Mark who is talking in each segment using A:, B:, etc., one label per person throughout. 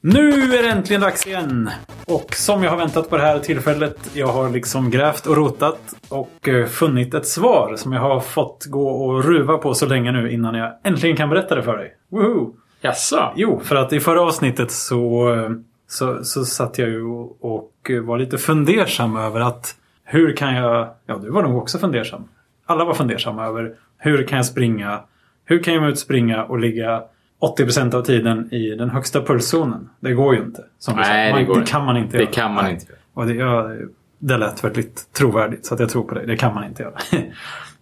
A: Nu är det äntligen dags igen! Och som jag har väntat på det här tillfället. Jag har liksom grävt och rotat och eh, funnit ett svar som jag har fått gå och ruva på så länge nu innan jag äntligen kan berätta det för dig. Woohoo!
B: Jaså?
A: Jo, för att i förra avsnittet så, eh, så, så satt jag ju och eh, var lite fundersam över att hur kan jag... Ja, du var nog också fundersam. Alla var fundersamma över hur kan jag springa? Hur kan jag utspringa och ligga 80% av tiden i den högsta pulszonen? Det går ju inte. Som du sa.
B: Nej, det går
A: det kan man inte
B: Det
A: göra.
B: kan man
A: Nej.
B: inte göra.
A: Och det, jag, det lät väldigt trovärdigt så att jag tror på dig. Det kan man inte göra.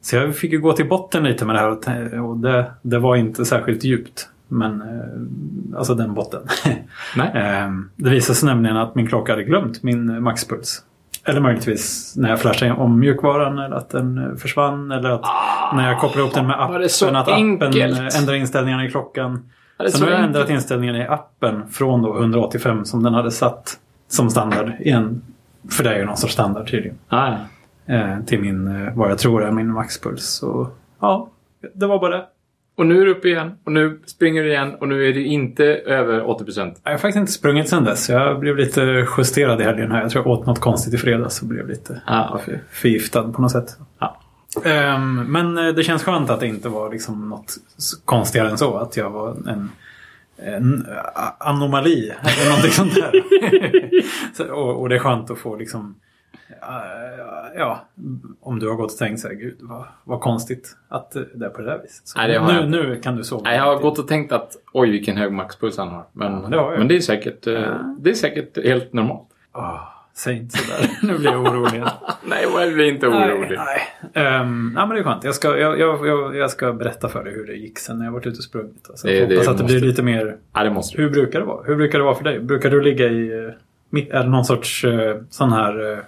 A: så jag fick ju gå till botten lite med det här och, tä- och det, det var inte särskilt djupt. Men eh, alltså den botten.
B: Nej.
A: Eh, det visade sig nämligen att min klocka hade glömt min eh, maxpuls. Eller möjligtvis när jag flashade om mjukvaran eller att den eh, försvann eller att när jag kopplade upp den med
B: var Ah, det så
A: appen att appen
B: enkelt?
A: eh, ändrade inställningarna i klockan.
B: Var det
A: så
B: så
A: nu har jag ändrat
B: enkelt?
A: inställningarna i appen från då 185 som den hade satt som standard igen. För det är ju någon sorts standard tydligen.
B: Nej.
A: Eh, till min, eh, vad jag tror är min maxpuls. Så ja, det var bara det.
B: Och nu är du uppe igen. Och nu springer du igen. Och nu är du inte över 80%.
A: Jag har faktiskt inte sprungit sedan dess. Jag blev lite justerad i helgen här. Jag tror jag åt något konstigt i fredags och blev lite
B: Ah,
A: för- förgiftad på något sätt.
B: Ja.
A: Ehm, men eh, det känns skönt att det inte var liksom något s- konstigare än så. Att jag var en, en a- anomali eller någonting sånt där. så, och, och det är skönt att få liksom eh, Ja, om du har gått och tänkt så här, gud vad, vad konstigt att eh, det är på det där viset. Så
B: Nej, det har jag
A: nu,
B: inte.
A: nu kan du sova.
B: Nej, jag har gått och tänkt att oj vilken hög maxpuls han har. Men,
A: det har jag.
B: men det, är säkert, eh,
A: Ja.
B: det är säkert helt normalt.
A: Åh, Ah, säg inte sådär, nu blir jag orolig. igen.
B: Nej, jag är inte orolig.
A: Nej, nej. Ehm, ja, men det är skönt. Jag ska, jag, jag, jag, jag ska berätta för dig hur det gick sen när jag varit ute och sprungit. Alltså,
B: Det-
A: jag
B: det
A: hoppas att det
B: måste-
A: blir lite mer...
B: Ja, det måste du.
A: Hur brukar det vara? Hur brukar det vara för dig? Brukar du ligga i... eh, mitt- Är det någon sorts eh, sån här eh,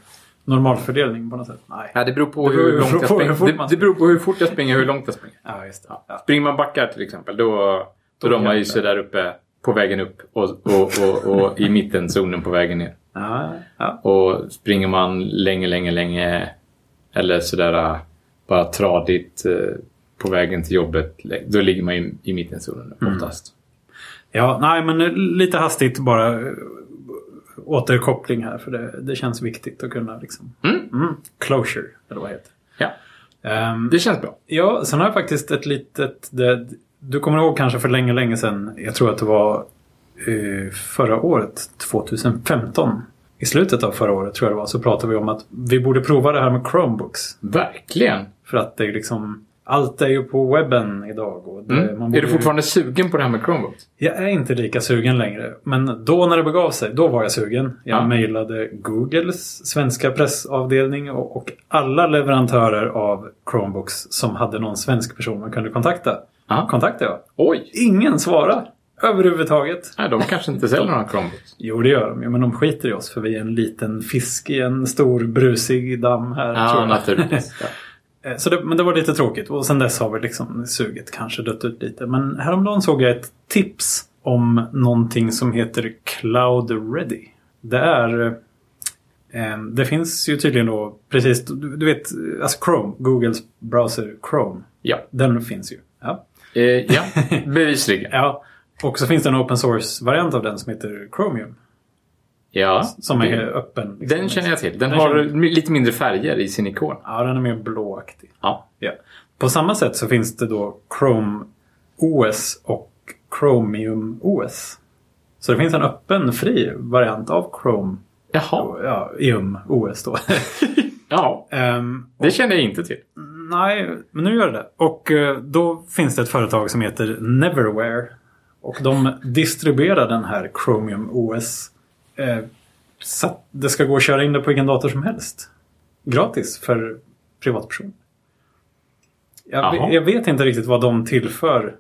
A: normalfördelning på något sätt? Nej.
B: Ja, det beror på
A: Det beror
B: hur
A: ju
B: långt
A: på-
B: jag
A: hur fort
B: springer.
A: man
B: Det, det beror på hur fort jag springer och hur långt jag springer.
A: Ja, just det. Ja.
B: Springer man backar till exempel, då, då,
A: Då
B: de har ju
A: jävlar.
B: sig där uppe på vägen upp och, och, och, och i mitten zonen på vägen ner.
A: Ja, ja.
B: Och springer man länge, länge, länge eller sådär äh, bara tradigt eh, på vägen till jobbet, lä- då ligger man ju i mittenzonen
A: Mm.
B: oftast.
A: ja, nej men eh, lite hastigt bara eh, återkoppling här för det, det känns viktigt att kunna liksom...
B: Mm.
A: Closure, eller vad det heter.
B: Ja,
A: Ehm,
B: det känns bra.
A: Ja, sen har jag faktiskt ett litet... Det, du kommer ihåg kanske för länge, länge sedan. Jag tror att det var eh, förra året, 2015. I slutet av förra året tror jag det var, så pratade vi om att vi borde prova det här med Chromebooks.
B: Verkligen.
A: För att det är liksom... Allt är ju på webben idag. Och det,
B: Mm.
A: man
B: Är
A: borde
B: du
A: ju-
B: fortfarande sugen på det här med Chromebook?
A: jag är inte lika sugen längre. Men då när det begav sig, då var jag sugen. Jag
B: Ja.
A: mejlade Googles svenska pressavdelning och, och alla leverantörer av Chromebooks som hade någon svensk person man kunde kontakta.
B: Ja.
A: Kontaktade jag.
B: Oj!
A: Ingen svarade. Överhuvudtaget.
B: Nej, de kanske inte säljer några Chromebooks.
A: Jo, det gör de ju, men de skiter i oss för vi är en liten fisk i en stor brusig damm här. tror
B: Ja,
A: jag.
B: Ah, naturligtvis. Ja.
A: Eh, Så det, men det var lite tråkigt och sen dess har väl liksom suget kanske dött ut lite. Men häromdagen såg jag ett tips om någonting som heter Cloud Ready. Det är... eh, Det finns ju tydligen då precis, du, du vet, alltså Chrome, Googles browser Chrome.
B: Ja.
A: Den finns ju. Ja.
B: Eh, ja, bevisligen.
A: ja. Och så finns det en open source-variant av den som heter Chromium.
B: Ja.
A: Som är
B: Det-
A: öppen. liksom.
B: Den känner jag till. Den
A: Den
B: har
A: känner-
B: mi- lite mindre färger i sin ikon.
A: Ja, den är mer blåaktig.
B: Ja.
A: Ja. På samma sätt så finns det då Chrome OS och Chromium OS. Så det finns en öppen fri variant av Chrome
B: Jaha.
A: ja, IUM OS då.
B: Ja,
A: Ehm,
B: det känner jag inte till.
A: nej, men nu gör det det Och eh, då finns det ett företag som heter Neverware. Och de distribuerar den här Chromium OS eh, så att det ska gå att köra in det på vilken dator som helst. Gratis för privatpersoner. Jag,
B: Jaha.
A: ve- jag vet inte riktigt vad de tillför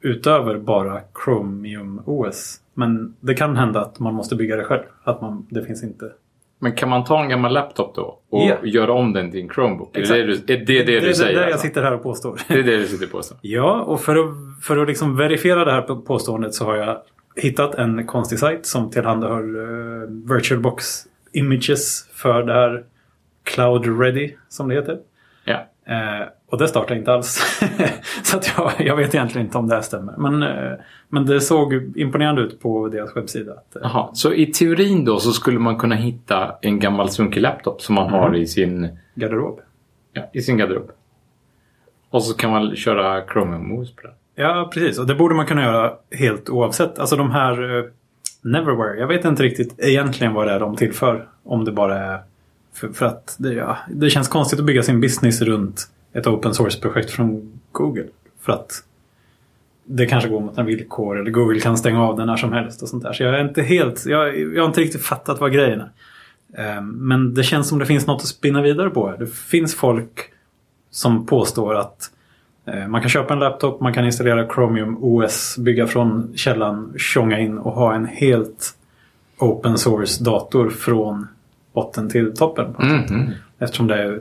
A: utöver bara Chromium OS. Men det kan hända att man måste bygga det själv. Att man, det finns inte
B: Men kan man ta en gammal laptop då och
A: Ja.
B: göra om den till en Chromebook? Är det
A: Exakt.
B: det, du, är det, det,
A: det
B: du säger?
A: Det är det jag
B: alltså?
A: sitter här och påstår.
B: det är det du sitter på så.
A: Ja, och för att, för att liksom verifiera det här på- påståendet så har jag hittat en konstig sajt som tillhandahöll eh, VirtualBox images för det här Cloud Ready som det heter.
B: Ja.
A: Eh, Och det startade inte alls. så att jag, jag vet egentligen inte om det här stämmer. Men, eh, men det såg imponerande ut på deras webbsida. Att, eh,
B: Jaha, så i teorin då så skulle man kunna hitta en gammal sunkig laptop som man har
A: Mm.
B: i sin,
A: garderob.
B: ja, i sin garderob. Och så kan man köra Chromium-mos på den.
A: Ja, precis. Och det borde man kunna göra helt oavsett. Alltså de här eh, Neverwhere. Jag vet inte riktigt egentligen vad det är de tillför. Om det bara är för, för att det, ja, det känns konstigt att bygga sin business runt ett open source-projekt från Google. För att det kanske går mot en villkor eller Google kan stänga av den när som helst och sånt där. Så jag är inte helt, jag, jag har inte riktigt fattat vad grejen är. Eh, Men det känns som det finns något att spinna vidare på. här. Det finns folk som påstår att Eh, Man kan köpa en laptop, man kan installera Chromium OS, bygga från källan, tjonga in och ha en helt open source-dator från botten till toppen.
B: Mhm.
A: Eftersom det är...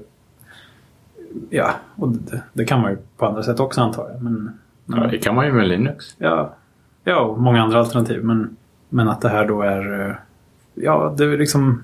A: Ja, och det, det kan man ju på andra sätt också antar jag. Men,
B: Ja, det kan man ju med Linux.
A: ja, ja, och många andra alternativ. Men, men att det här då är... eh, Ja, det är liksom...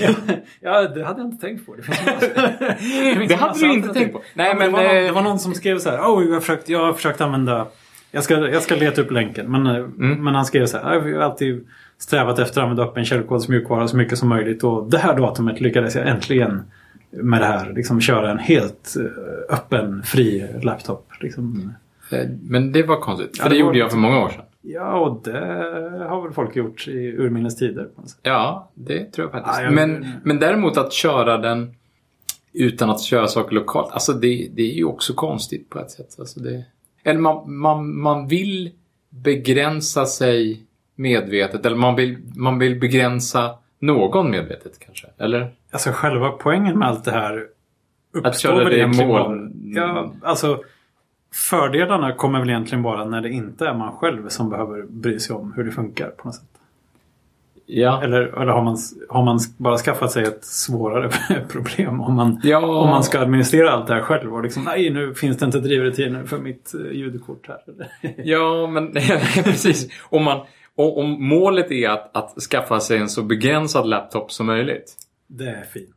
A: ja, ja, det hade jag inte tänkt på. Det finns
B: Det hade du inte tänkt på. Nej,
A: men
B: men...
A: det, var någon, det var
B: eh,
A: någon som skrev så här. Oh, jag, har försökt, jag har försökt använda... Jag ska, jag ska leta upp länken. Men, eh, men han skrev så här. Jag har ju alltid strävat efter att använda öppen källkodsmjukvara så mycket som möjligt. Och det här datumet lyckades jag äntligen med det här. Liksom köra en helt eh, öppen, fri laptop. Liksom.
B: Men det var konstigt. För
A: Ja, det
B: det,
A: var
B: gjorde jag för många år sedan.
A: Ja, och det har väl folk gjort i urminnes tider. På något sätt.
B: Ja, det tror jag faktiskt.
A: Ja, jag-
B: men, men däremot att köra den utan att köra saker lokalt. Alltså det, det är ju också konstigt på ett sätt. Alltså det, eller man, man, man vill begränsa sig medvetet. Eller man vill, man vill begränsa någon medvetet kanske. Eller?
A: Alltså själva poängen med allt det här
B: Att
A: uppstår
B: köra
A: väl
B: det i
A: egentligen
B: mål.
A: bara... Ja, alltså fördelarna kommer väl egentligen bara när det inte är man själv som behöver bry sig om hur det funkar på något sätt.
B: Ja.
A: Eller, eller har, man, har man bara skaffat sig ett svårare problem om man,
B: ja
A: om man ska administrera allt det här själv och liksom nej nu finns det inte drivrutiner för mitt eh, ljudkort här.
B: Ja, men precis. Om, man, om, om målet är att, att skaffa sig en så begränsad laptop som möjligt.
A: Det är fint.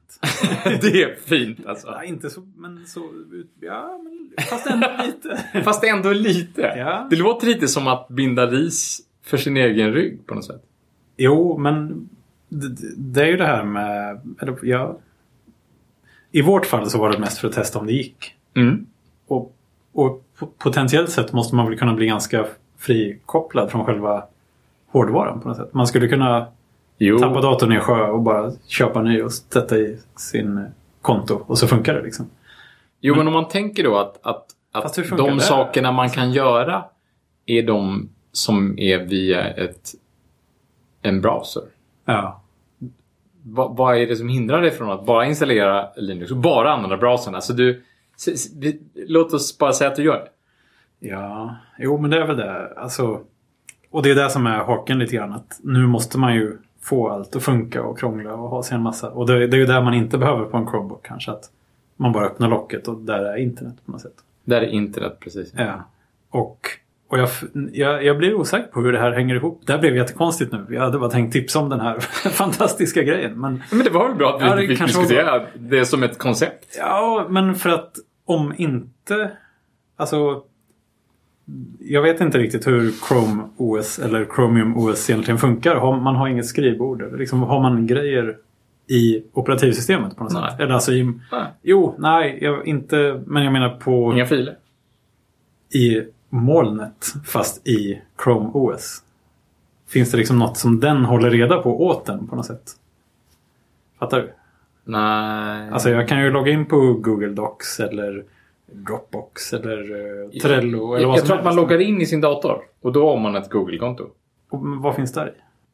B: det är fint alltså.
A: Ja, inte så, men så, ut- ja, men, fast ändå lite.
B: Fast ändå lite.
A: Ja.
B: Det låter lite som att binda ris för sin egen rygg på något sätt.
A: Jo, men det, det- det är ju det här med... Eller, ja, I vårt fall så var det mest för att testa om det gick.
B: Mm.
A: Och, och po- potentiellt sett måste man väl kunna bli ganska frikopplad från själva hårdvaran på något sätt. Man skulle kunna
B: Jo.
A: tappa datorn i sjö och bara köpa en ny och sätta i sin konto och så funkar det liksom.
B: jo, men om man tänker då att, att,
A: Fast
B: att
A: hur funkar
B: de
A: det?
B: sakerna man kan göra är de som är via ett, en browser.
A: Ja,
B: Va, vad är det som hindrar dig från att bara installera Linux och bara använda browsern? Alltså du, s, s, vi, låt oss bara säga att du gör det.
A: ja. jo men det är väl det. Alltså, och det är det som är haken lite grann. Att nu måste man ju få allt att funka och krångla och ha sig en massa. Och det, det är ju där man inte behöver på en Chromebook kanske. Att man bara öppnar locket och där är internet på något sätt.
B: Där är internet precis.
A: Ja. Och, och jag, jag, jag blir osäker på hur det här hänger ihop. Det här blev jättekonstigt nu. Jag hade bara tänkt tipsa om den här fantastiska grejen. Men,
B: Men det var väl bra att vi
A: Ja, det
B: inte fick
A: kanske var
B: diskutera det som ett koncept.
A: ja, men för att om inte... Alltså... Jag vet inte riktigt hur Chrome OS eller Chromium OS egentligen funkar. Har, man har inget skrivbord. eller Liksom, har man grejer i operativsystemet på något
B: Nej.
A: sätt? Eller alltså i,
B: Nej.
A: jo, nej, jag, inte, men jag menar på
B: Inga filer.
A: i molnet fast i Chrome OS? Finns det liksom något som den håller reda på åt den på något sätt? Fattar du?
B: Nej.
A: Alltså jag kan ju logga in på Google Docs eller Dropbox eller eh, Trello eller
B: jag,
A: vad
B: jag
A: som
B: tror att man
A: helst.
B: loggar in i sin dator och då har man ett Google-konto.
A: Och Vad finns där i?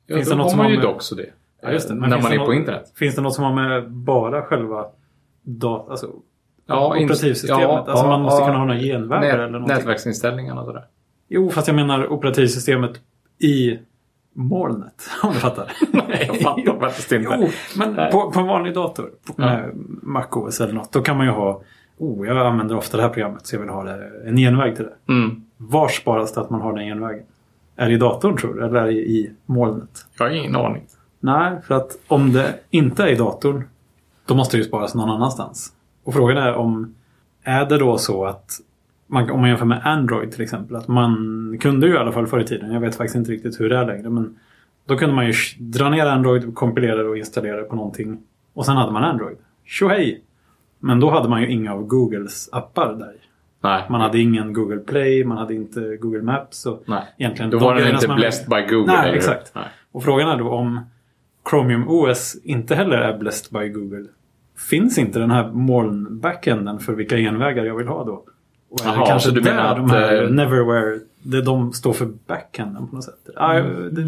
B: Ja,
A: Finns
B: då
A: det något
B: har
A: som
B: man
A: har
B: ju
A: med-
B: dock så det.
A: Ja, just det.
B: eh,
A: Men
B: När
A: finns
B: man
A: det
B: är på
A: något-
B: internet.
A: Finns det något som har med bara själva dat- alltså,
B: Ja, in-
A: operativsystemet?
B: ja,
A: alltså man måste
B: ja,
A: kunna ha några
B: Nät,
A: genvägar eller någonting?
B: nätverksinställningarna och sådär.
A: Jo, fast jag menar operativsystemet i molnet. Om du fattar?
B: Nej, jag fattar faktiskt inte.
A: Jo, men
B: Nej.
A: på, på en vanlig dator. På, eh,
B: Ja.
A: Med MacOS eller något. Då kan man ju ha. Oh, jag använder ofta det här programmet så jag vill ha det, en genväg till det.
B: Mm.
A: Var sparas det att man har den genvägen? Är det i datorn tror du? Eller är det i molnet?
B: Jag har ingen aning.
A: Nej, för att om det inte är i datorn. Då måste det ju sparas någon annanstans. Och frågan är om Är det då så att man, om man jämför med Android till exempel, att man kunde ju i alla fall förr i tiden, jag vet faktiskt inte riktigt hur det är längre, men då kunde man ju dra ner Android, kompilera det och installera det på någonting och sen hade man Android. Tjohej! Men då hade man ju inga av Googles appar där.
B: Nej.
A: Man hade ingen Google Play, man hade inte Google Maps. Och,
B: Nej.
A: egentligen
B: Då
A: de
B: var den
A: grejerna
B: inte
A: som man-
B: blessed by Google.
A: Nej,
B: eller hur?
A: exakt.
B: Nej.
A: och frågan är då om Chromium OS inte heller är blessed by Google. Finns inte den här molnbackenden för vilka genvägar jag vill ha då? Och är
B: Jaha,
A: det kanske
B: så du
A: där
B: menar
A: de
B: att,
A: här
B: eh,
A: Neverwhere, det de står för backenden på något sätt? Ja, det,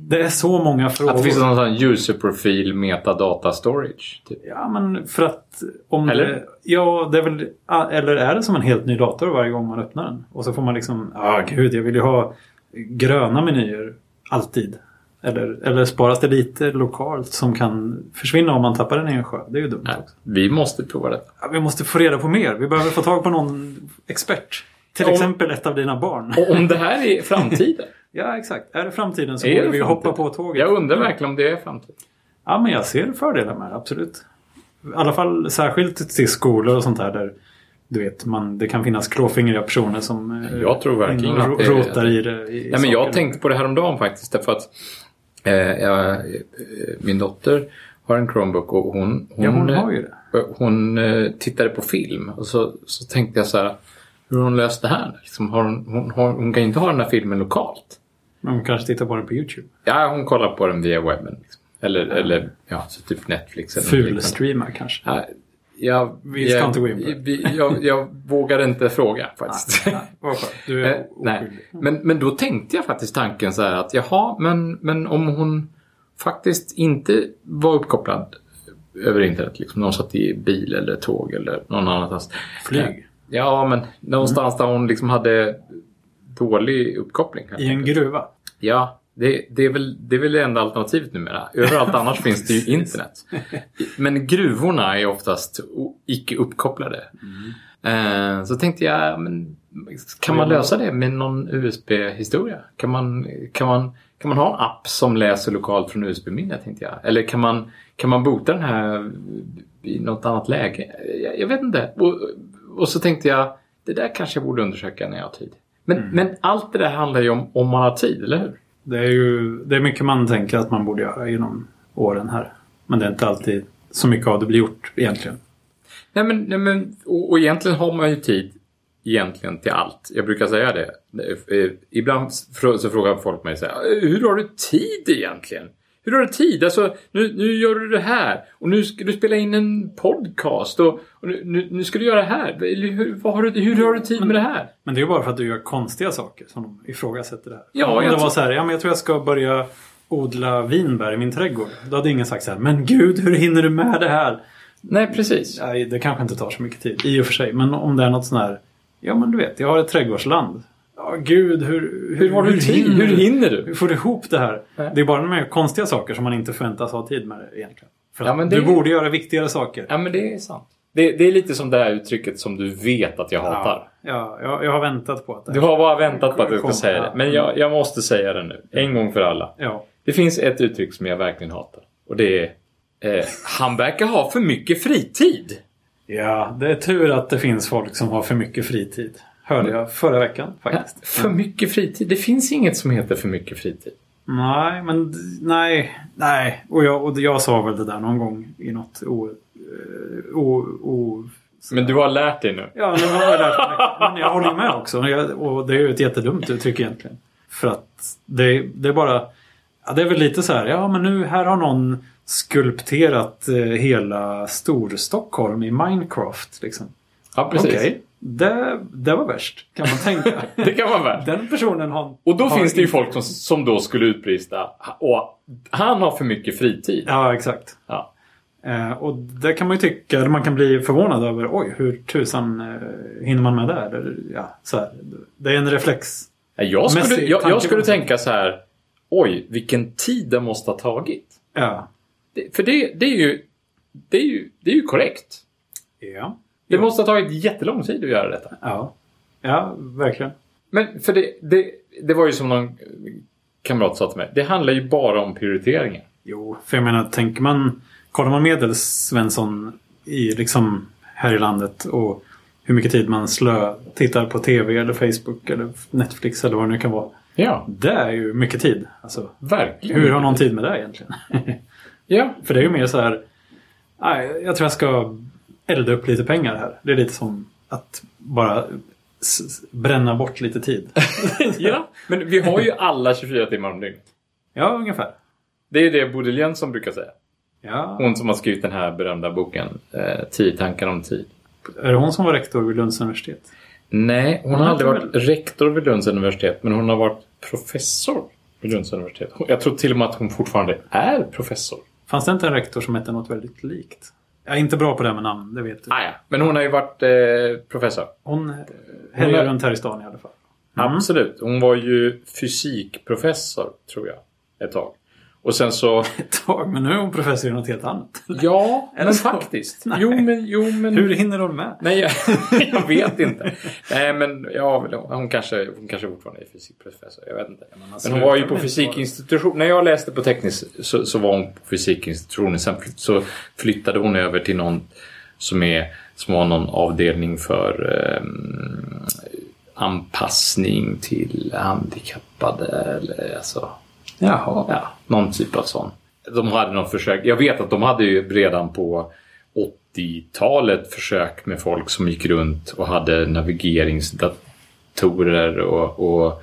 A: det är så många frågor.
B: Mm. Att det finns någon sån här user-profil metadata storage. Typ.
A: Ja, men för att... Om
B: Eller?
A: Det, ja, det är väl, ah, eller är det som en helt ny dator varje gång man öppnar den? Och så får man liksom, ja ah, gud, jag vill ju ha gröna menyer alltid. Eller, eller sparas det lite lokalt som kan försvinna om man tappar den i en sjö? Det är ju dumt
B: Nej,
A: också.
B: vi måste prova detta.
A: Ja, vi måste få reda på mer. Vi behöver få tag på någon expert. Till
B: Om-
A: exempel ett av dina barn.
B: Och om det här är framtiden?
A: Ja, exakt. Är det framtiden så
B: Är
A: borde
B: det
A: vi
B: framtiden?
A: hoppa på tåget.
B: Jag undrar verkligen om det är framtiden.
A: Ja, men jag ser fördelar med det, absolut. I alla fall särskilt till skolor och sånt där där du vet, man, det kan finnas klåfingriga personer som eh,
B: Jag tror verkligen
A: in och
B: att det-
A: ro- rotar i det. I
B: Nej, men jag
A: saker.
B: tänkte på det här om dagen faktiskt. Därför att eh, jag, eh, min dotter har en Chromebook och hon, hon,
A: Ja, hon har ju det.
B: eh, hon eh, tittade på film. Och så, så tänkte jag så här, hur har hon löst det här? Liksom, har hon, hon, har, hon kan ju inte ha den här filmen lokalt.
A: Men hon kanske tittar på den på YouTube.
B: Ja, hon kollar på den via webben. Liksom. Eller, eller ja, så typ Netflix. Eller något liknande.
A: Fulstreamar kanske.
B: Ja, jag,
A: Vi ska
B: jag,
A: inte gå in på det.
B: vi- jag, jag vågar inte fråga faktiskt.
A: Nej, vad skönt. Du
B: Eh,
A: är
B: Nej.
A: oskyldig.
B: Men, men då tänkte jag faktiskt tanken så här att jaha, men, men om hon faktiskt inte var uppkopplad över internet, liksom någon satt i bil eller tåg eller någon annanstans. Eh,
A: Flyg.
B: Ja, men någonstans där hon liksom hade dålig uppkoppling.
A: I en gruva.
B: Ja, det, det, är väl, det är väl det enda alternativet numera. Överallt annars finns det ju internet. Men gruvorna är oftast o- icke uppkopplade.
A: Mm.
B: Eh, Så tänkte jag, ja, men, kan man lösa det med någon USB-historia? Kan man, kan, man, kan man ha en app som läser lokalt från USB-minne? tänkte jag. Eller kan man, kan man bota den här i något annat läge? Jag, jag vet inte. Och, och så tänkte jag, det där kanske jag borde undersöka när jag har tid. Men, men allt det där handlar ju om om man har tid, eller hur?
A: Det är ju det är mycket man tänker att man borde göra genom åren här. Men det är inte alltid så mycket av det blir gjort egentligen.
B: Nej, men, nej, men, och, och egentligen har man ju tid egentligen till allt. Jag brukar säga det. Eh, Ibland frå- så frågar folk mig så här, "Eh, hur har du tid egentligen? Hur har du tid? Alltså, nu, nu gör du det här och nu ska du spela in en podcast och, och nu, nu, nu ska du göra det här. Eller Hur, vad har du, hur har du tid med det här?
A: Men det är ju bara för att du gör konstiga saker som de ifrågasätter det här.
B: Ja,
A: Om
B: jag
A: det var
B: tror-
A: så här, ja men jag tror jag ska börja odla vinbär i min trädgård. Då hade ingen sagt så här, men gud hur hinner du med det här?
B: Nej, precis.
A: Nej, det kanske inte tar så mycket tid i och för sig. Men om det är något sån här, ja men du vet, jag har ett trädgårdsland. Ja, gud hur...
B: Hur har du tid?
A: hinner
B: Hur hinner du?
A: Hur får du ihop det här?
B: Nej.
A: Det är bara de här konstiga saker som man inte förväntas ha tid med egentligen. För att
B: Ja, men det-
A: Du borde göra viktigare saker.
B: Ja, men det är sant. Det, det är lite som det här uttrycket som du vet att jag hatar.
A: Ja, ja, jag, jag har väntat på att det
B: Du har bara väntat på att jag ska
A: Kom,
B: säga
A: ja.
B: det. Men jag, jag måste säga det nu. En gång för alla.
A: Ja.
B: Det finns ett uttryck som jag verkligen hatar. Och det är... Eh, han verkar ha för mycket fritid.
A: Ja, det är tur att det finns folk som har för mycket fritid. Hörde jag förra veckan faktiskt.
B: För mycket fritid? Det finns inget som heter för mycket fritid.
A: Nej, men d- nej, nej. Och jag, och jag sa väl det där någon gång i något o... eh, o, o
B: Men du har lärt dig nu.
A: ja, nu har jag lärt mig. Men jag håller med också. Och jag- Och det är ju ett jättedumt uttryck egentligen. För att det, det är bara... Ja, det är väl lite så här, ja men nu här har någon skulpterat eh, hela Storstockholm i Minecraft. Liksom.
B: Ja, precis.
A: Okej, det, det var värst kan man tänka.
B: Det kan vara värt.
A: Den personen har...
B: Och då
A: har
B: finns det ju
A: inte-
B: folk som, som då skulle utbrista. Och han har för mycket fritid.
A: Ja, exakt.
B: Ja.
A: Eh, och där kan man ju tycka, eller man kan bli förvånad över, oj, hur tusan eh, hinner man med det? här? Eller, ja, så här. Det är en reflex.
B: Nej, Jag skulle,
A: Messi,
B: jag,
A: tanken
B: jag skulle
A: var så.
B: tänka så här. Oj, vilken tid det måste ha tagit.
A: Ja.
B: Det, för det, det, är ju, det, är ju, det är ju korrekt.
A: Ja.
B: Det måste ha tagit jättelång tid att göra detta.
A: Ja, ja verkligen.
B: Men för det, det, det var ju som någon kamrat sa till mig. Det handlar ju bara om prioriteringar.
A: Jo, för jag menar, tänker man, kollar man medel Svensson i liksom här i landet och hur mycket tid man slö tittar på TV eller Facebook eller Netflix eller vad det nu kan vara.
B: Ja,
A: Det är ju mycket tid. Alltså,
B: verkligen.
A: hur har någon tid med det egentligen?
B: Ja,
A: För det är ju mer så här. "Nej, Jag tror jag ska elda upp lite pengar här. Det är lite som att bara s- s- bränna bort lite tid.
B: ja. Men vi har ju alla 24 timmar om dygnet.
A: Ja, ungefär.
B: Det är det Bodil Jönsson brukar säga.
A: Ja.
B: Hon som har skrivit den här berömda boken, eh, Tio tankar om tid.
A: Är det hon som var rektor vid Lunds universitet?
B: Nej, hon har
A: har
B: aldrig
A: inte
B: varit rektor vid Lunds universitet, men hon har varit professor vid Lunds universitet. Hon- Jag tror till och med att hon fortfarande är professor.
A: Fanns det inte en rektor som hette något väldigt likt? Jag är inte bra på det här med namn, det vet du.
B: Ah, ja. Men hon har ju varit eh, professor.
A: Hon härjar
B: är-
A: runt här i stan i alla fall. Mm.
B: Absolut. Hon var ju fysikprofessor, tror jag, ett tag. Och sen så...
A: Ett tag, men nu är hon professor i något helt annat.
B: Ja,
A: Eller
B: men
A: så.
B: faktiskt.
A: Nej.
B: Jo, men... Jo, men...
A: Hur hinner hon med?
B: Nej, jag, jag vet inte. Nej, men ja, väl, hon, kanske, hon kanske fortfarande är fysikprofessor. Jag vet inte. Men hon var ju på fysikinstitution. När jag läste på teknisk så, så var hon på fysikinstitutionen. Sen flytt- så flyttade hon över till någon som, är, som har någon avdelning för ehm, anpassning till handikappade. Eller, alltså,
A: Jaha.
B: ja, någon typ av sån. De hade någon försök. Jag vet att de hade ju redan på 80-talet försök med folk som gick runt och hade navigeringsdatorer och, och,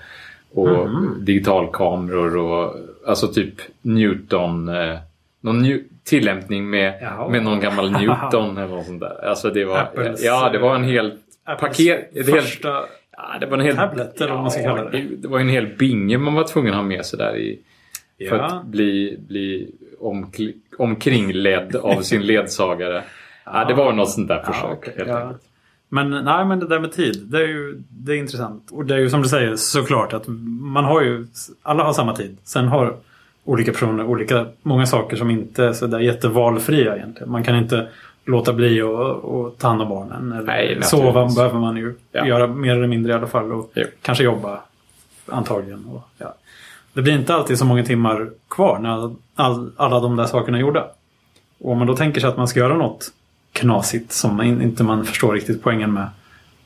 B: och
A: Mhm.
B: digitalkameror och alltså typ Newton. Eh, någon new- tillämpning med,
A: Jaha.
B: med någon gammal Newton eller något sånt där. Alltså det var,
A: Apples,
B: ja, det var en hel
A: Apples
B: paket. Ett helt,
A: Första...
B: ja, det var en hel
A: tablet, eller vad man ska kalla det.
B: Det var ju en hel binge man var tvungen att ha med sig där i för
A: Ja.
B: att bli, bli omkli- omkringledd av sin ledsagare. Ja, det var något sånt där försök
A: Ja, okej.
B: helt
A: Ja.
B: enkelt.
A: Men nej, men det där med tid, det är ju det är intressant. Och det är ju som du säger såklart att man har ju, alla har samma tid. Sen har olika personer olika, många saker som inte är så där jättevalfria egentligen. Man kan inte låta bli att att ta hand om barnen. Eller
B: Nej, naturligtvis.
A: sova behöver man ju
B: Ja.
A: göra mer eller mindre i alla fall. Och
B: Jo.
A: kanske jobba antagligen. Och, ja. Det blir inte alltid så många timmar kvar när all, alla de där sakerna är gjorda. Och om man då tänker sig att man ska göra något knasigt som man in- inte man förstår riktigt poängen med.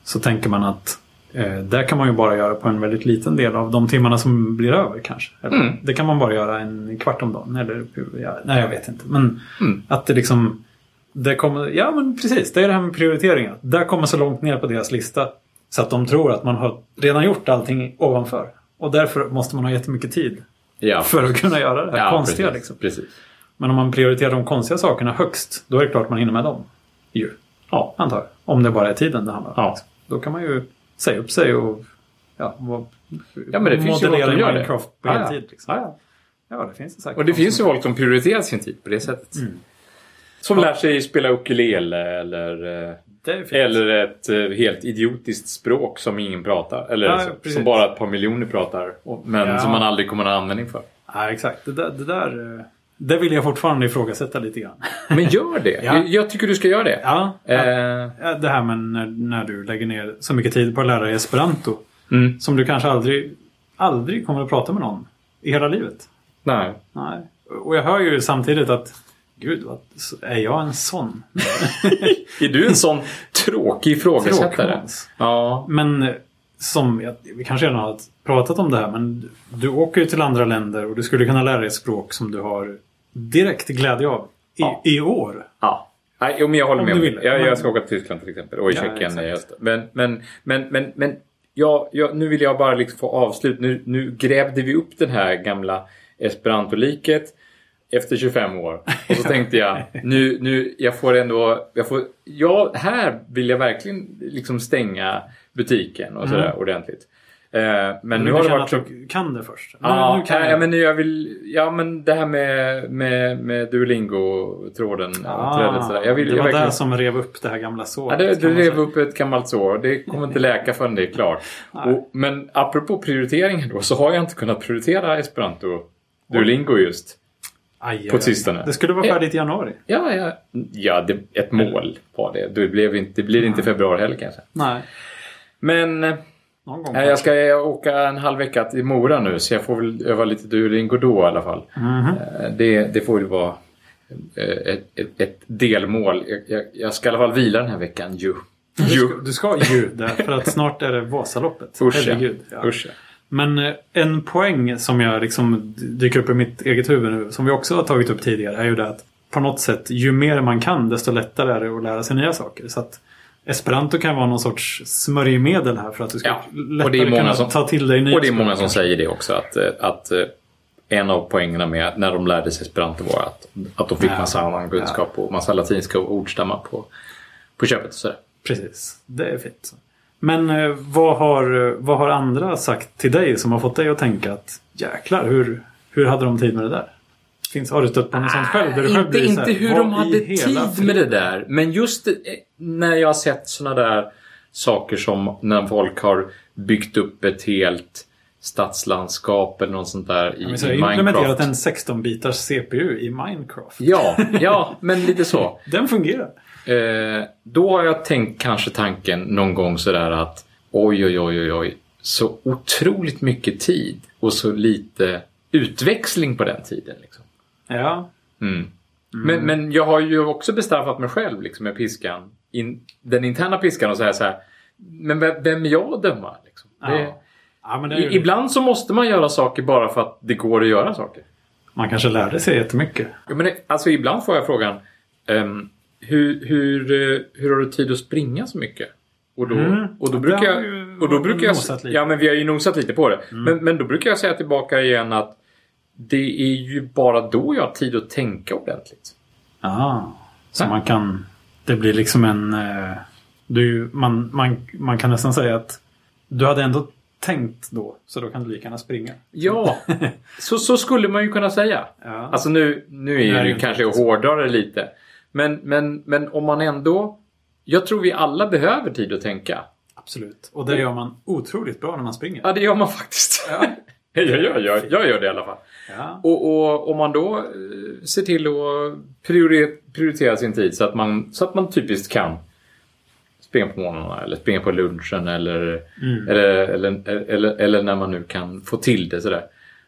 A: Så tänker man att eh, där kan man ju bara göra på en väldigt liten del av de timmarna som blir över kanske. Eller,
B: Mm.
A: Det kan man bara göra en kvart om dagen. Eller, hur- ja, nej, jag vet inte. Men
B: Mm.
A: att det liksom... Det kommer, ja, men precis. Det är det här med prioriteringar. Där kommer så långt ner på deras lista så att de tror att man har redan gjort allting ovanför. Och därför måste man ha jättemycket tid
B: Ja.
A: för att kunna göra det här
B: ja,
A: konstiga.
B: precis,
A: Liksom.
B: precis.
A: Men om man prioriterar de konstiga sakerna högst, då är det klart man hinner med dem. Ju.
B: Ja.
A: Antar jag. Om det bara är tiden det handlar om.
B: Ja.
A: Då kan man ju säga upp sig och ja, vad-
B: Ja, men det finns ju folk
A: modellera
B: som gör det.
A: Minecraft på
B: Ja, ja.
A: heltid. Liksom.
B: Ja, ja.
A: Ja, Mm. det finns det säkert.
B: Och det
A: de
B: finns ju
A: som-
B: folk som prioriterar sin tid på det sättet. Som lär sig spela ukulele eller, eh,
A: Det är ju fint.
B: eller ett eh, helt idiotiskt språk som ingen pratar. Eller
A: Ja,
B: så- som
A: precis.
B: bara ett par miljoner pratar. och- Men
A: Ja.
B: som man aldrig kommer att ha användning för.
A: Ja, exakt. Det där, det där eh, det vill jag fortfarande ifrågasätta lite grann.
B: Men gör det!
A: Ja.
B: Jag- Jag tycker du ska göra det.
A: Ja,
B: Eh,
A: Ja, Det här med när, när du lägger ner så mycket tid på att lära dig esperanto.
B: Mm.
A: Som du kanske aldrig, aldrig kommer att prata med någon i hela livet.
B: nej.
A: Nej. Och jag hör ju samtidigt att Gud, vad, så- är jag en sån?
B: Är du en sån tråkig ifrågasättare?
A: Tråkmåns.
B: Ja.
A: Men eh, som, jag, vi kanske redan har pratat om det här, men du- du åker ju till andra länder och du skulle kunna lära dig ett språk som du har direkt glädje av i,
B: Ja.
A: i år.
B: ja. Nej, jo, men jag håller
A: Om
B: med.
A: du
B: om det.
A: vill.
B: Jag,
A: Men-
B: jag ska åka till Tyskland till exempel. Och i
A: Ja,
B: Tjeckien.
A: exakt.
B: i höst. men men, men, men, men ja, ja, nu vill jag bara liksom få avslut. Nu, nu grävde vi upp den här gamla esperantoliket efter 25 år. Och så tänkte jag, nu, nu jag får ändå... Jag får, ja, här vill jag verkligen liksom stänga butiken och sådär ordentligt. Eh, men,
A: Mm. Men
B: nu har det
A: känna
B: varit
A: att
B: så
A: du kan det först.
B: Ja,
A: nu, nu kan
B: nej,
A: jag.
B: men jag vill... Ja, men det här med, med, med Duolingo-tråden.
A: Ah,
B: trädet sådär. Jag vill,
A: det
B: jag
A: var
B: verkligen...
A: det som rev upp det här gamla såret.
B: Ja, det,
A: kan
B: du
A: man
B: rev
A: säga.
B: upp ett gammalt sår. Det kommer inte läka förrän det är klart. Och, men apropå prioriteringen då, så har jag inte kunnat prioritera Esperanto Duolingo just.
A: Aj, aj,
B: på
A: aj.
B: sistone.
A: Det skulle vara färdigt i januari.
B: Ja, ja. ja det, ett mål var det. Det, blev inte, det blir inte i februari heller kanske.
A: Nej.
B: Men eh,
A: Någon gång.
B: nej, jag ska åka en halv vecka till Mora nu, så jag får väl öva lite Duolingo då i alla fall.
A: Mhm.
B: Eh, Det, det får ju vara eh, ett, ett, ett delmål. Jag, jag, jag ska i alla fall vila den här veckan ju.
A: Du ska, du ska ju det, för att snart är det Vasaloppet.
B: Usch ja.
A: Herregud. Ja.
B: Usch ja.
A: Men eh, en poäng som jag liksom dyker upp i mitt eget huvud nu, som vi också har tagit upp tidigare, är ju det att på något sätt, ju mer man kan, desto lättare är det att lära sig nya saker. Så att Esperanto kan vara någon sorts smörjmedel här för att du ska
B: Ja, och
A: lättare
B: det är många
A: kunna
B: som-
A: ta till dig nya
B: Och det är
A: språk.
B: många som säger det också, att, eh, att eh, en av poängerna med att när de lärde sig esperanto var att, att de fick
A: Ja.
B: massa annan kunskap och massa latinska ordstammar på, på köpet. Och sådär.
A: Precis, det är fint. Men eh, vad har, eh, vad har andra sagt till dig som har fått dig att tänka att jäklar, hur, hur hade de tid med det där? Finns, har du stött på något sånt själv? Där du själv
B: Äh, inte
A: blir så här,
B: inte hur
A: "Vad
B: de
A: i
B: hade tid
A: hela
B: med det där. Men just eh, när jag har sett såna där saker som när folk har byggt upp ett helt stadslandskap eller något sånt där i,
A: Men så har
B: i
A: jag implementerat
B: Minecraft.
A: en 16-bitars CPU i Minecraft.
B: Ja, ja, men lite så.
A: Den fungerar.
B: Eh, då har jag tänkt kanske tanken någon gång sådär att oj, oj, oj, oj, oj. Så otroligt mycket tid och så lite utväxling på den tiden. Liksom.
A: Ja,
B: Mm. Men, men jag har ju också bestraffat mig själv liksom, med piskan. In, den interna piskan och säga så här. Men vem, vem är jag att döma? Liksom? Det,
A: ja. ja men det är ju
B: i, ibland så måste man göra saker bara för att det går att göra saker.
A: Man kanske lärde sig jättemycket.
B: Ja, men det, alltså ibland får jag frågan ehm, hur, hur, eh, hur har du tid att springa så mycket? Och då,
A: Mm.
B: och då
A: Ja,
B: brukar
A: där har vi
B: jag...
A: ju
B: Och då brukar jag
A: nosat lite. Mm.
B: ja, men vi har ju nosat lite på det. Men, men då brukar jag säga tillbaka igen att det är ju bara då jag har tid att tänka ordentligt.
A: Aha. Så man kan... Det blir liksom en... eh, Du, man, man, man kan nästan säga att du hade ändå tänkt då, så då kan du lika gärna springa.
B: Ja, så, så skulle man ju kunna säga.
A: Ja.
B: Alltså nu, nu är
A: Nej,
B: det
A: det är
B: ju
A: inte
B: kanske att
A: riktigt
B: hårdra det lite. Men, men, men om man ändå... Jag tror vi alla behöver tid att tänka.
A: Absolut. Och det gör man otroligt bra när man springer.
B: Ja, det gör man faktiskt. jag, gör, jag, jag gör det i alla fall.
A: Ja.
B: Och, och om man då eh, ser till att priori- prioritera sin tid så att man, så att man typiskt kan springa på morgnarna eller springa på lunchen eller, eller, eller, eller, eller när man nu kan få till det sådär.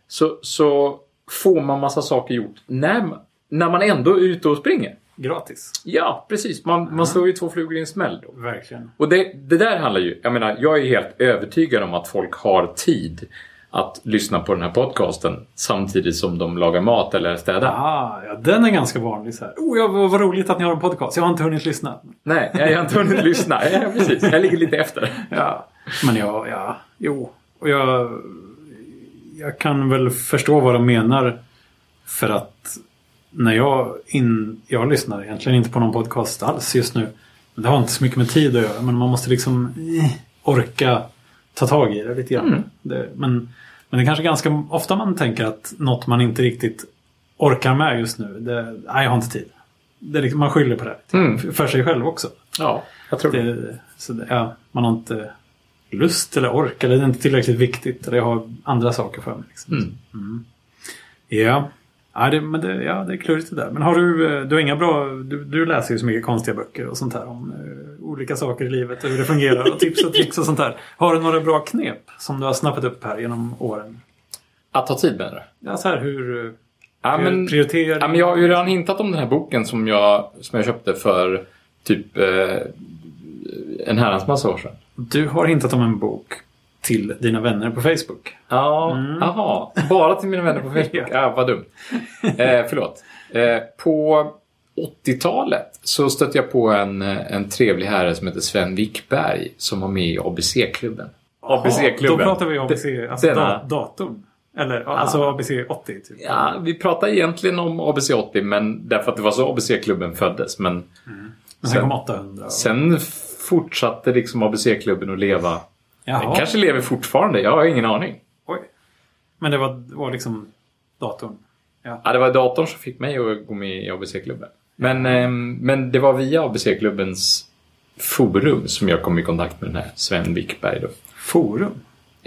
B: Så, så får man massa saker gjort när, man- när man ändå är ute och springer.
A: Gratis.
B: Ja, precis. Man, man slår ju två flugor i en smäll då.
A: Verkligen.
B: Och det, det där handlar ju, jag menar, jag är helt övertygad om att folk har tid att lyssna på den här podcasten samtidigt som de lagar mat eller städar.
A: Ah, ja, den är ganska vanlig. Så här. Oh, ja, vad vad roligt att ni har en podcast. Jag har inte hunnit lyssna.
B: Nej, jag har inte hunnit lyssna. Ja, precis. Jag ligger lite efter.
A: Ja, men ja, ja, jo. Och jag, jag kan väl förstå vad de menar. För att när jag, in, jag lyssnar egentligen inte på någon podcast alls just nu. Men Det har inte så mycket med tid att göra, men man måste liksom eh, orka ta tag i det lite grann. Det, men, men det är kanske ganska ofta man tänker att något man inte riktigt orkar med just nu. Det, nej, jag har inte tid. Det är liksom, man skyller på det.
B: Mm.
A: För sig själv också.
B: Ja, jag tror det.
A: Det, så det, ja, man har inte lust eller ork eller det är inte tillräckligt viktigt. Eller jag har andra saker för mig. Liksom.
B: Mm.
A: Ja, ja, det, men det, ja, det är klurigt det där. Men har du, eh, du har inga bra... Du, du läser ju så mycket konstiga böcker och sånt här om eh, olika saker i livet och hur det fungerar och tips och tricks och sånt där. Har du några bra knep som du har snappat upp här genom åren?
B: Att ta tid med det.
A: Ja, så här hur... eh,
B: Ja, men,
A: prioritering.
B: ja, men jag har ju redan hintat om den här boken som jag, som jag köpte för typ eh, en herrans massa år sedan.
A: Du har hintat om en bok till dina vänner på Facebook.
B: Ja, aha. Mm. Bara till mina vänner på Facebook. Ja, vad dumt. Eh, förlåt. Eh, på 80-talet så stötte jag på en, eh, en trevlig herre som heter Sven Wickberg som var med i ABC-klubben.
A: Då pratar vi om ABC, alltså
B: Denna-
A: dat- datorn. Eller ja, alltså
B: Ah.
A: ABC 80. Typ.
B: Ja, vi pratar egentligen om ABC 80 men därför att det var så ABC-klubben föddes. Men
A: Men sen kom 800.
B: sen fortsatte liksom ABC-klubben att leva. Den
A: Jaha.
B: kanske lever fortfarande, jag har ingen aning.
A: Oj. Men det var, var liksom datorn. Ja.
B: Ja, det var datorn som fick mig att gå med i ABC-klubben. Men, ehm, men det var via ABC-klubbens forum som jag kom i kontakt med den här Sven Wickberg. Då.
A: Forum.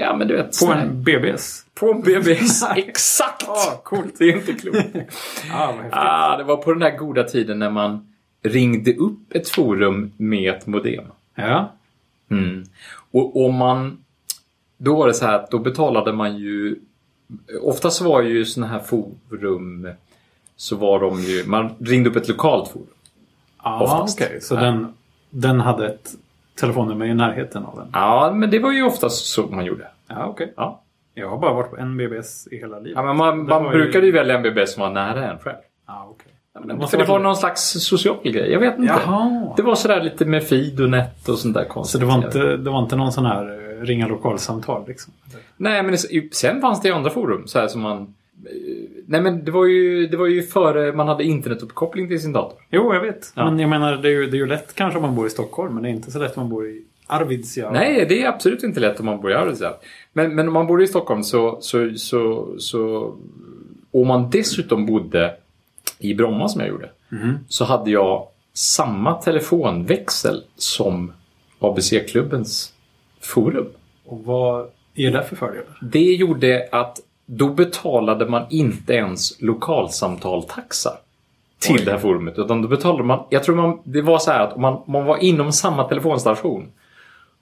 B: Ja, men du vet.
A: På
B: sån här-
A: en BBS.
B: på en BBS. Exakt!
A: Ah, coolt.
B: Det är inte klokt.
A: Ah, vad häftigt.
B: ah, det var på den där goda tiden när man ringde upp ett forum med ett modem.
A: Ja.
B: Mm. Och om man... Då var det så här att då betalade man ju... Oftast var ju såna här forum så var de ju... Man ringde upp ett lokalt forum.
A: Ah,
B: Oftast.
A: okej. Så den, den hade ett telefonnummer i närheten av den.
B: Ja, men det var ju oftast så man gjorde.
A: Ja, okej.
B: Ja.
A: Jag har bara varit på en BBS i hela livet.
B: Ja, men man
A: Det var
B: man
A: ju-
B: brukade ju välja en BB som var nära en själv.
A: Ja, okej.
B: För det var någon slags social grej. Jag vet inte.
A: Jaha!
B: Det var sådär lite med feed och nät och sånt där
A: Så
B: konstigt.
A: det var, inte, det var inte någon sån här eh, ringa lokalsamtal liksom?
B: Nej, men det- sen fanns det ju andra forum. Så här som man... eh, Nej, men det var, ju, det var ju före man hade internetuppkoppling till sin dator.
A: Jo, jag vet.
B: Ja.
A: Men jag menar, det är, ju, det är ju lätt kanske om man bor i Stockholm, men det är inte så lätt om man bor i Arvidsjaur.
B: Nej, det är absolut inte lätt om man bor i Arvidsjaur. Men, men om man bor i Stockholm så, så, så, så... Om man dessutom bodde i Bromma som jag gjorde. Så hade jag samma telefonväxel som ABC-klubbens forum.
A: Och vad är det för fördelar?
B: Det gjorde att då betalade man inte ens lokalsamtaltaxa till det här forumet. Utan då betalade man, jag tror man, det var så här att om man, om man var inom samma telefonstation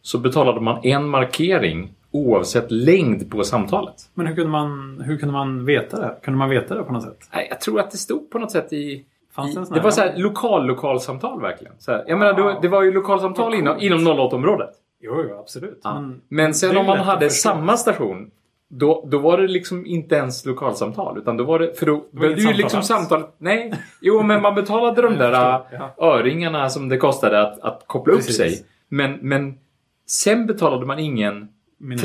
B: så betalade man en markering oavsett längd på samtalet.
A: Men hur kunde man, hur kunde man veta det? Kunde man veta det på något sätt?
B: Nej, Jag tror att det stod på något sätt i...
A: Fanns
B: i
A: det en sån
B: det
A: här?
B: var så här lokal-lokalsamtal verkligen. Så här, jag menar, det var, det var ju lokalsamtal inom, inom 08-området.
A: Jo, jo absolut. Men,
B: Men
A: det
B: sen
A: är
B: om man
A: lätt att
B: hade
A: förstå.
B: samma station då, då var det liksom inte ens lokalsamtal. Utan då var det, för då behövde ju
A: inget
B: liksom
A: samtal alls.
B: samtalet... Nej, jo men man betalade de där äh,
A: förstår,
B: öringarna som det kostade att, att koppla
A: Precis.
B: upp sig. Men, men sen betalade man ingen
A: Minut.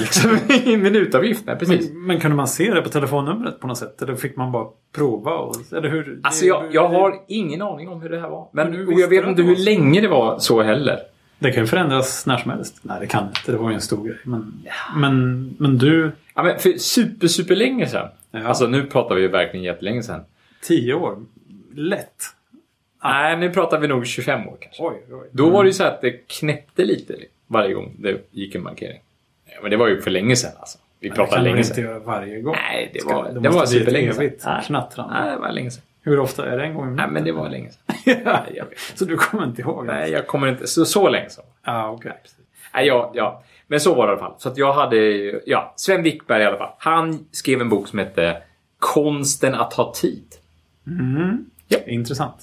B: liksom. ingen minutavgift. Nej, precis.
A: men, men kunde man se det på telefonnumret på något sätt? Eller fick man bara prova? Och, eller hur?
B: Alltså
A: det-
B: jag, jag
A: det-
B: har ingen aning om hur det här var.
A: Men hur
B: Men, och
A: visste
B: jag vet
A: du alltså?
B: inte
A: att
B: hur
A: det var
B: länge det var så heller.
A: Det kan ju förändras när som helst. Nej, det kan inte. Det var ju en stor grej. Men, men, men du,
B: Ja, men för super, super länge sedan.
A: Ja.
B: Alltså nu pratar vi ju verkligen jättelänge sedan.
A: tio år. Lätt. Ah.
B: Nej, nu pratar vi nog 25 år kanske.
A: Oj, oj.
B: Då var det ju så att det knäppte lite varje gång det gick en markering. Ja, Men det var ju för länge sedan alltså. Vi
A: det
B: pratar
A: kan man
B: länge
A: inte
B: sedan.
A: göra varje gång.
B: Nej, det
A: Ska-
B: var,
A: det måste
B: det var
A: bli ett
B: superlänge sedan.
A: evigt
B: Nej.
A: knattrande.
B: Nej, det var länge sedan.
A: Hur ofta är det? En gång i
B: Nej,
A: minuten?
B: men det var länge sedan. Nej, jag vet.
A: Så du kommer inte ihåg?
B: Nej, jag kommer inte... Så, så länge sedan.
A: Ah, okay.
B: Nej, ja, ja. Men så var det i alla fall. Så att jag hade ju- ja, Sven Wickberg i alla fall. Han skrev en bok som hette Konsten att ha tid.
A: Intressant.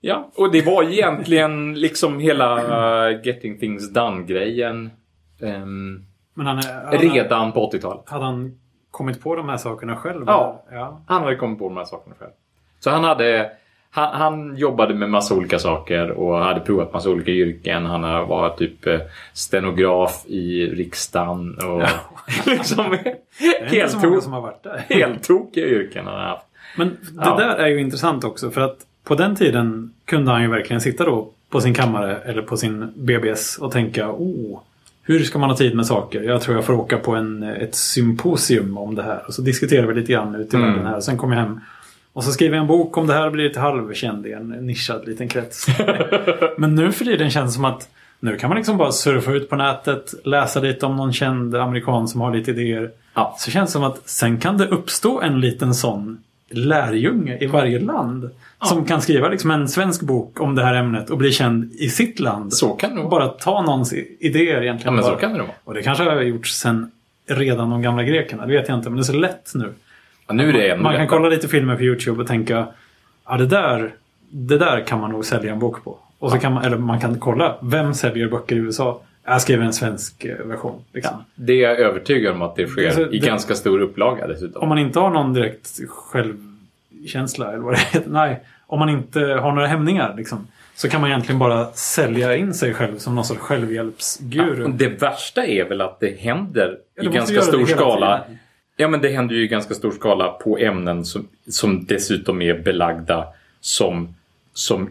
B: Ja, och det var egentligen liksom hela eh, Getting Things Done-grejen. ehm,
A: Men han, är- han,
B: redan på 80-talet.
A: Hade han kommit på de här sakerna själv?
B: Ja.
A: eller? ja.
B: Han hade kommit på de här sakerna själv. Så han hade... Han, han jobbade med massa olika saker och hade provat massa olika yrken. Han har varit typ eh, stenograf i riksdagen och liksom
A: Det är inte så många
B: helt
A: som har varit där.
B: heltokiga yrken han har haft.
A: Men det
B: Ja.
A: där är ju intressant också för att på den tiden kunde han ju verkligen sitta då på sin kammare eller på sin BBS och tänka oh, hur ska man ha tid med saker? Jag tror jag får åka på en, ett symposium om det här. Och så diskuterar vi lite grann ute i
B: Mm.
A: världen här. Sen kommer jag hem och så skriver jag en bok om det här och blir lite halvkänd i en nischad liten krets. Men nu för tiden känns det som att nu kan man liksom bara surfa ut på nätet, läsa lite om någon känd amerikan som har lite idéer.
B: Ja.
A: Så känns det som att sen kan det uppstå en liten sån lärjunge i varje land. Som kan skriva liksom en svensk bok om det här ämnet och bli känd i sitt land.
B: Så kan det nog vara.
A: Bara ta någons i- idéer
B: Ja,
A: egentligen.
B: men så
A: bara.
B: kan det nog vara.
A: Och det kanske har gjorts sen redan de gamla grekerna. Det vet jag inte, men det är så lätt nu.
B: Ja, nu är det ännu
A: Man kan
B: lättare.
A: kolla lite filmer på YouTube och tänka ja, det där, det där kan man nog sälja en bok på. Och så kan man, eller man kan kolla, vem säljer böcker i USA? Jag skriver en svensk eh, version. Liksom.
B: Det är jag övertygad om att det sker
A: Alltså,
B: i
A: det-
B: ganska stor upplaga dessutom.
A: Om man inte har någon direkt självkänsla eller vad det heter. Nej, om man inte har några hämningar liksom. Så kan man egentligen bara sälja in sig själv som någon sorts självhjälpsguru.
B: Ja, och det värsta är väl att det händer
A: Ja,
B: i
A: det måste
B: ganska
A: göra det
B: stor
A: hela
B: skala.
A: tiden.
B: Ja, men det händer ju i ganska stor skala på ämnen som, som dessutom är belagda som, som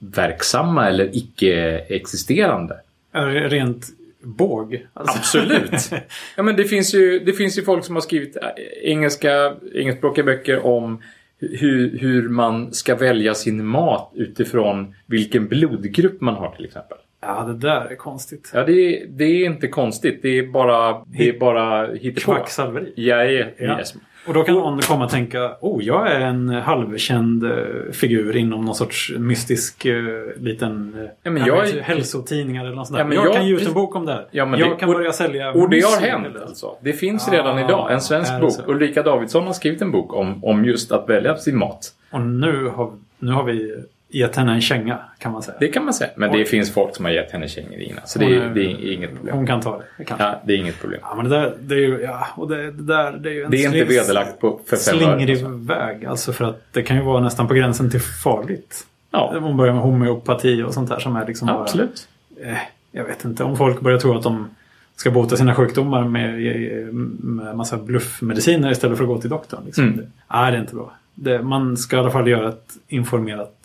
B: icke-verksamma eller icke-existerande.
A: Är det Rent båg. Alltså.
B: Absolut. Ja, men det, finns ju, det finns ju folk som har skrivit eh, engelska, engelskspråkiga böcker om hur, hur man ska välja sin mat utifrån vilken blodgrupp man har till exempel.
A: ja, det där är konstigt.
B: Ja, det, är- det är inte konstigt. Det är bara, det är bara hittepå.
A: Kvacksalveri.
B: Jag är
A: Ja.
B: yes.
A: Och då kan någon komma och tänka oh, jag är en halvkänd eh, figur inom någon sorts mystisk eh, liten eh,
B: Ja, men
A: jag
B: jag
A: vet
B: är-
A: inte, hälsotidning eller något sånt
B: Ja,
A: där.
B: men
A: jag,
B: jag-
A: kan ge ut en bok om det här.
B: Ja, men
A: jag
B: det-
A: kan
B: och-
A: börja sälja
B: Och det har
A: mussel
B: hänt
A: eller-
B: alltså. Det finns
A: Ah,
B: redan idag en
A: är
B: svensk
A: det
B: bok.
A: så?
B: Ulrika Davidsson har skrivit en bok om, om just att välja sin mat.
A: Och nu har, nu har vi gett henne en känga kan man säga.
B: Det kan man säga. Men det finns folk som har gett henne kängor innan. Så det
A: Hon
B: är,
A: är-
B: det är inget problem.
A: Hon kan ta det. Kan. Ja.
B: Ja, det är inget problem.
A: men det där, det är ju, ja, och det, det där, det är ju en
B: Det är inte
A: sling-
B: vederlagt på för fem öre.
A: slingrig väg. Alltså för att det kan ju vara nästan på gränsen till farligt.
B: Ja,
A: Hon börjar med homeopati och sånt där som är liksom
B: absolut.
A: bara... Eh, jag vet inte, om folk börjar tro att de ska bota sina sjukdomar med, med massa bluffmediciner istället för att gå till doktorn. Liksom.
B: Mm.
A: Det, nej, det är inte bra. Det, man ska i alla fall göra ett informerat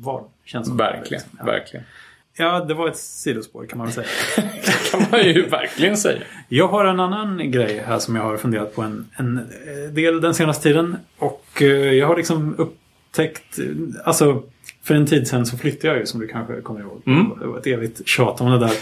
A: val. Känns som.
B: Verkligen,
A: Ja.
B: verkligen.
A: ja, det var ett sidospår kan man väl säga.
B: Det kan man ju verkligen säga.
A: Jag har en annan grej här som jag har funderat på en, en eh, del den senaste tiden. Och eh, jag har liksom upptäckt, eh, alltså för en tid sedan så flyttade jag ju som du kanske kommer ihåg.
B: Mm.
A: Det var ett evigt tjat om det där.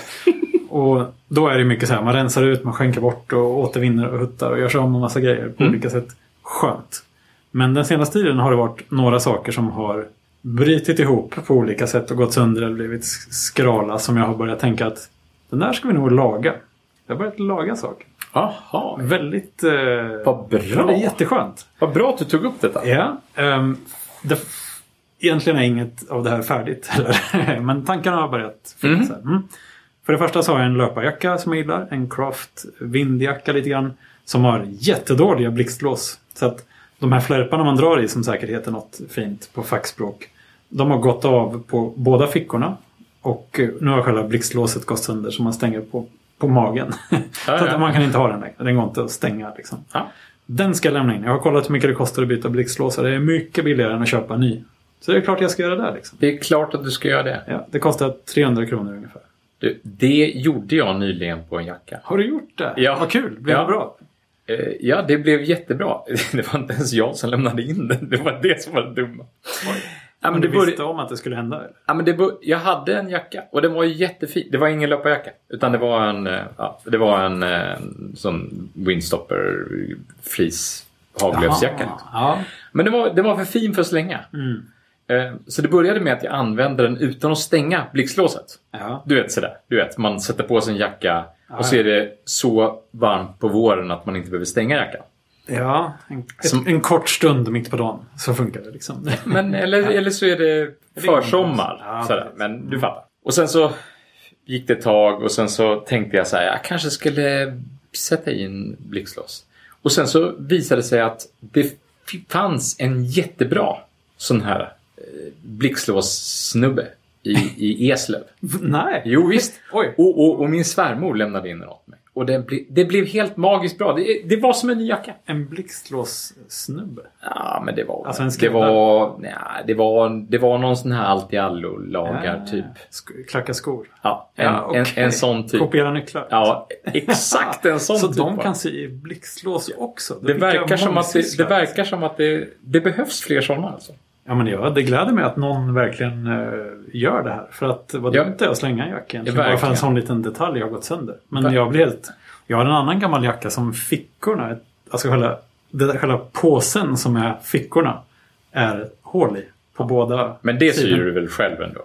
A: och då är det mycket så här, man rensar ut, man skänker bort och återvinner och huttar och gör sig om en massa grejer på
B: Mm.
A: olika sätt. Skönt. Men den senaste tiden har det varit några saker som har brutit ihop på olika sätt och gått sönder eller blivit skrala som jag har börjat tänka att den där ska vi nog laga. Jag har börjat laga saker.
B: Jaha,
A: Väldigt... Eh,
B: vad
A: ja, det är
B: bra.
A: jätteskönt.
B: Vad bra att du tog upp detta.
A: Ja. ehm, det, egentligen är inget av det här färdigt heller. Men tankarna har börjat
B: Mhm.
A: finnas här. Mm. För det första så har jag en löparjacka som jag gillar. En Craft vindjacka lite grann. Som har jättedåliga blixtlås. Så att de här flärparna man drar i som säkerhet är något fint på fackspråk. De har gått av på båda fickorna. Och eh, nu har själva blixtlåset gått sönder så man stänger på, på magen. så
B: ja.
A: att man kan inte ha den längre. Den går inte att stänga liksom.
B: Ja.
A: Den ska jag lämna in. Jag har kollat hur mycket det kostar att byta blixtlåsar. Det är mycket billigare än att köpa en ny. Så det är klart jag ska göra det. Liksom.
B: Det är klart att du ska göra det.
A: Ja, det kostar 300 kronor ungefär.
B: Du, det gjorde jag nyligen på en jacka.
A: Har du gjort det?
B: Ja.
A: Vad kul! Blev
B: Ja.
A: det bra?
B: Eh, Ja, det blev jättebra. Det var inte ens jag som lämnade in den. Det var det som var det dumma. Ja,
A: Men
B: men det
A: du
B: började,
A: visste om att det skulle hända? Eller?
B: ja, men det bör, jag hade en jacka och den var ju jättefin. Det var ingen löparjacka. Utan det var en, eh, ja, det var en eh, sån windstopper fleece haglöfsjacka. liksom.
A: Ja.
B: Men det var, det var för fin för att slänga.
A: Mm.
B: Eh, Så det började med att jag använde den utan att stänga blixtlåset.
A: ja.
B: Du vet sådär. Du vet, man sätter på sig en jacka
A: Ja.
B: och så är det så varmt på våren att man inte behöver stänga jackan.
A: ja. En, ett,
B: Som-
A: en kort stund mitt på dagen så funkar det liksom.
B: Men, eller, eller så är det försommar.
A: Ja,
B: sådär.
A: precis.
B: Men du fattar. Och sen så gick det ett tag och sen så tänkte jag så här, jag kanske skulle sätta in blixtlås. Och sen så visade det sig att det f- fanns en jättebra sån här eh, blixtlåssnubbe i, i Eslöv.
A: Nej.
B: Jo visst.
A: Oj.
B: Och, och, och min svärmor lämnade in den åt mig. Och det, ble, det blev helt magiskt bra. Det, det var som en ny jacka.
A: En blixtlåssnubbe.
B: Ja, men det var...
A: Alltså en
B: det
A: skräddare?
B: var, nej, det var Det var någon sån här allt-i-allo-lagar typ.
A: Sk- Klacka skor.
B: Ja, en,
A: Ja, okej.
B: en, en sån typ.
A: Kopiera nycklar.
B: Ja, exakt en sån
A: så
B: typ.
A: de
B: va?
A: kan sy i blixtlås också.
B: det,
A: Vilka
B: verkar som att det, det
A: mångsysslare.
B: verkar som att det, det behövs fler såna alltså.
A: Ja, men ja, det gläder mig att någon verkligen eh, gör det här. För att vad
B: Ja.
A: dumt det är att slänga en jacka egentligen.
B: Ja,
A: Bara för
B: verkligen.
A: en sån liten detalj har gått sönder. Men
B: Ver-
A: jag blir helt... Jag har en annan gammal jacka som fickorna, är- alltså själva, det där, själva påsen som är fickorna, är hål i. På båda
B: Men det syr
A: sidorna.
B: du väl själv ändå?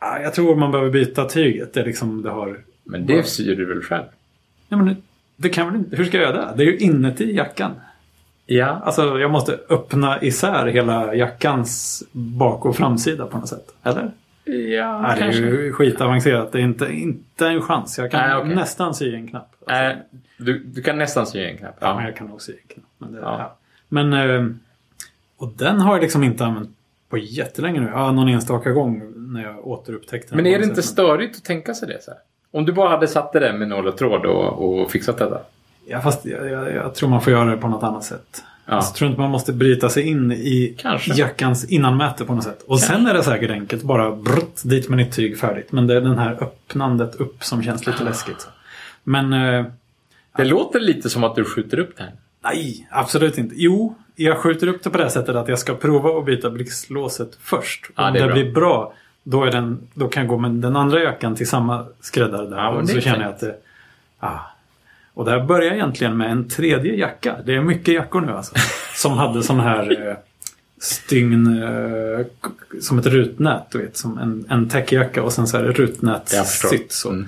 A: Ja, Jag tror man behöver byta tyget. Det är liksom, det har...
B: Men det syr du väl själv?
A: Nej, men det- det kan väl inte... Hur ska jag göra det? Det är ju inuti jackan.
B: Ja.
A: Alltså, jag måste öppna isär hela jackans bak och framsida på något sätt. Eller?
B: Ja,
A: Nej, det är
B: kanske.
A: ju skitavancerat. Det är inte, inte en chans. Jag kan
B: Nej, okej.
A: nästan sy en knapp. Alltså,
B: Äh, du, du kan nästan sy en knapp.
A: Men
B: Ja.
A: jag kan nog sy en knapp. Men, det,
B: Ja.
A: ja. men eh, och den har jag liksom inte använt på jättelänge nu. Ja, någon enstaka gång när jag återupptäckte den.
B: Men
A: på
B: är det
A: något
B: inte
A: sätt.
B: störigt att tänka sig det? Så här? Om du bara hade satt det där med nål och tråd och, och fixat detta.
A: Ja, fast jag, jag, jag tror man får göra det på något annat sätt.
B: Ja.
A: Jag tror inte man måste bryta sig in i
B: Kanske.
A: jackans innanmäte på något sätt. Och sen är det säkert enkelt. Bara brott dit med nytt tyg färdigt. Men det är den här öppnandet upp som känns lite läskigt. Men eh,
B: Det låter lite som att du skjuter upp det här.
A: Nej, absolut inte. Jo, jag skjuter upp det på det här sättet att jag ska prova att byta blixtlåset först.
B: Ja,
A: Om
B: det
A: det,
B: är bra.
A: blir bra, då, är den, då kan jag gå med den andra jackan till samma skräddare där.
B: Ja, men
A: och
B: det
A: så
B: är
A: känner
B: fint.
A: jag att det... Ah. Och det här börjar egentligen med en tredje jacka. Det är mycket jackor nu alltså. Som hade sån här eh, stygn... Eh, k- som ett rutnät, du vet. Som en, en täckjacka och sen så är det
B: Jag förstår.
A: rutnätssytt. Så,
B: Mm.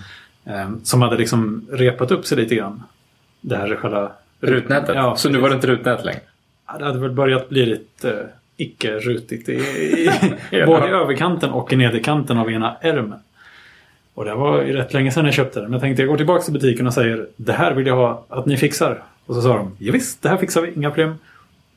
A: eh, som hade liksom repat upp sig lite grann. Det här själva...
B: Rutnätet.
A: Ja,
B: så nu var det inte rutnät längre.
A: Ja, Det hade väl börjat bli lite eh, icke-rutigt i, i, både i överkanten och i nederkanten av ena ärmen. Och det var ju rätt länge sedan jag köpte den. Men jag tänkte jag går tillbaka till butiken och säger det här vill jag ha att ni fixar. Och så sa de ja, visst, det här fixar vi, inga problem.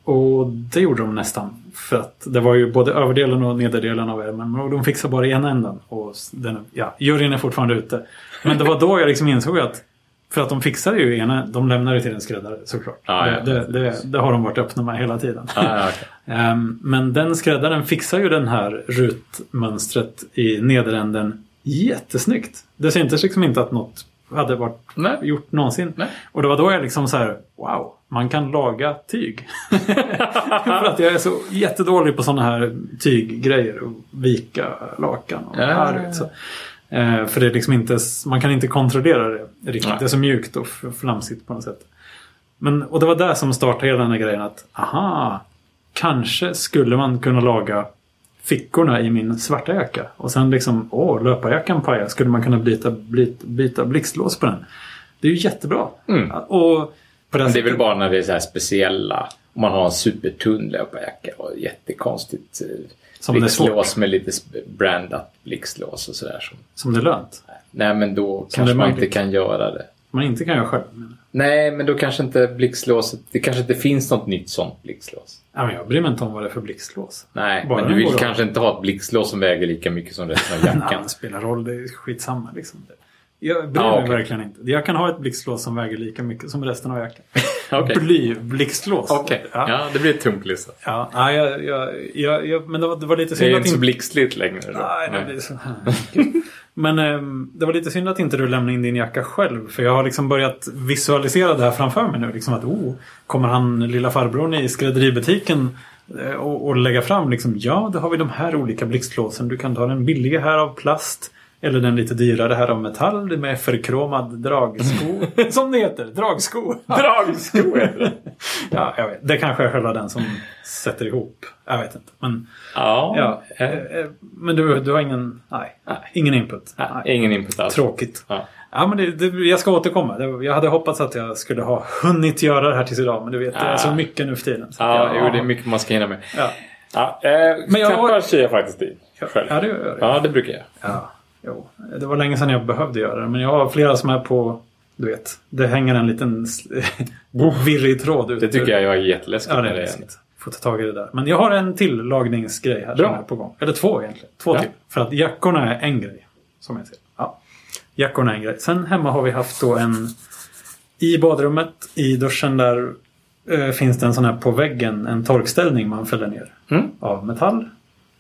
A: Och det gjorde de nästan. För att det var ju både överdelen och nederdelen av ärmen. Och de fixade bara ena änden. Och den, ja, juryn är fortfarande ute. Men det var då jag liksom insåg att för att de fixar ju ena, de lämnar det till en skräddare såklart.
B: Ja, ja,
A: det, det, det, det har de varit öppna med hela tiden.
B: Ah, ja, okej.
A: Ehm, Men den skräddaren fixar ju den här rutmönstret i nederänden jättesnyggt. Det syntes liksom inte att något hade varit
B: Nej.
A: gjort någonsin.
B: Nej.
A: Och det var då jag liksom så här, wow, man kan laga tyg. För att jag är så jättedålig på sådana här tyggrejer och vika lakan och
B: Ja.
A: här, vet, så. Eh, För det är liksom inte, man kan inte kontrollera det riktigt.
B: Nej.
A: Det är så mjukt och f- flamsigt på något sätt. Men, och det var där som startade hela den här grejen att aha, kanske skulle man kunna laga fickorna i min svarta jacka. Och sen liksom, åh, löparjackan pajar. Skulle man kunna byta, byta, byta blixtlås på den? Det är ju jättebra.
B: Mm.
A: Och på den
B: Men Det är väl
A: sättet-
B: bara när det är så här speciella. Om man har en supertunn löparjacka och jättekonstigt eh,
A: Som det är
B: blixtlås med lite sp- brandat blixtlås och sådär. Som,
A: som det är lönt.
B: nej, men då kanske
A: det är
B: man inte
A: möjligt.
B: kan göra det.
A: Man inte kan göra själv. Men,
B: Nej, men då kanske inte blixtlåset... Det kanske inte finns något nytt sånt blixtlås.
A: ja, men jag bryr mig inte om vad det är för blixtlås.
B: Nej,
A: Bara
B: men du
A: den
B: vill
A: går
B: kanske inte ha ett blixtlås som väger lika mycket som resten av
A: Nej,
B: jackan.
A: det spelar roll. Det är skitsamma liksom. Jag bryr
B: Ja,
A: mig
B: okej.
A: verkligen inte. Jag kan ha ett blixtlås som väger lika mycket som resten av jackan.
B: Okej.
A: Blyblixtlås.
B: Okej,
A: Ja. Ja.
B: ja, det blir ett tungt blixtlås.
A: nej, jag, jag, jag, jag, men det var, det var lite
B: Det är
A: synd
B: ju
A: att
B: inte så
A: inte...
B: blixtligt längre. då.
A: Nej, det
B: Nej.
A: blir så här. Okej. Men ehm, det var lite synd att inte du lämnade in din jacka själv. För jag har liksom börjat visualisera det här framför mig nu. Liksom att, oh, kommer han lilla farbrorn i skräddeributiken eh, och, och lägga fram liksom, ja, då har vi de här olika blixtlåsen. Du kan ta den billiga här av plast. Eller den lite dyrare här av metall med förkromad dragsko. som det heter, dragsko.
B: Dragsko heter det.
A: Ja, jag vet. Det kanske är själva den som sätter ihop. Jag vet inte. Men,
B: Ja.
A: ja, eh, eh, men du, du har ingen, nej, ingen input?
B: ja. Ingen input alls.
A: Tråkigt.
B: Ja.
A: Ja, men det, det, jag ska återkomma. Det- Jag hade hoppats att jag skulle ha hunnit göra det här tills idag. Men du vet, det är så
B: Ah.
A: mycket nu för tiden. Så
B: Ja,
A: att
B: Jo,
A: jag-
B: det är mycket man ska hinna med.
A: Ja,
B: Ja, eh,
A: Men
B: men
A: jag-
B: jag tappar kör jag faktiskt i. Själv.
A: ja det gör jag.
B: Ja, det brukar jag.
A: Ja, jo. Det var länge sedan jag behövde göra det. Men jag har flera som är på, du vet, det hänger en liten sl- virrig tråd ut.
B: Det tycker jag är jätteläskigt.
A: Ja, det
B: när
A: är
B: det
A: läskigt. Får ta tag i det där. Men jag har en till lagningsgrej här
B: Bra.
A: som är på gång. Eller två egentligen. Två
B: Ja.
A: till. För att jackorna är en grej. Som jag ser ja. Jackorna är en grej. Sen hemma har vi haft då en... I badrummet, i duschen där eh, finns det en sån här på väggen, en torkställning man fäller ner.
B: Mm.
A: Av metall.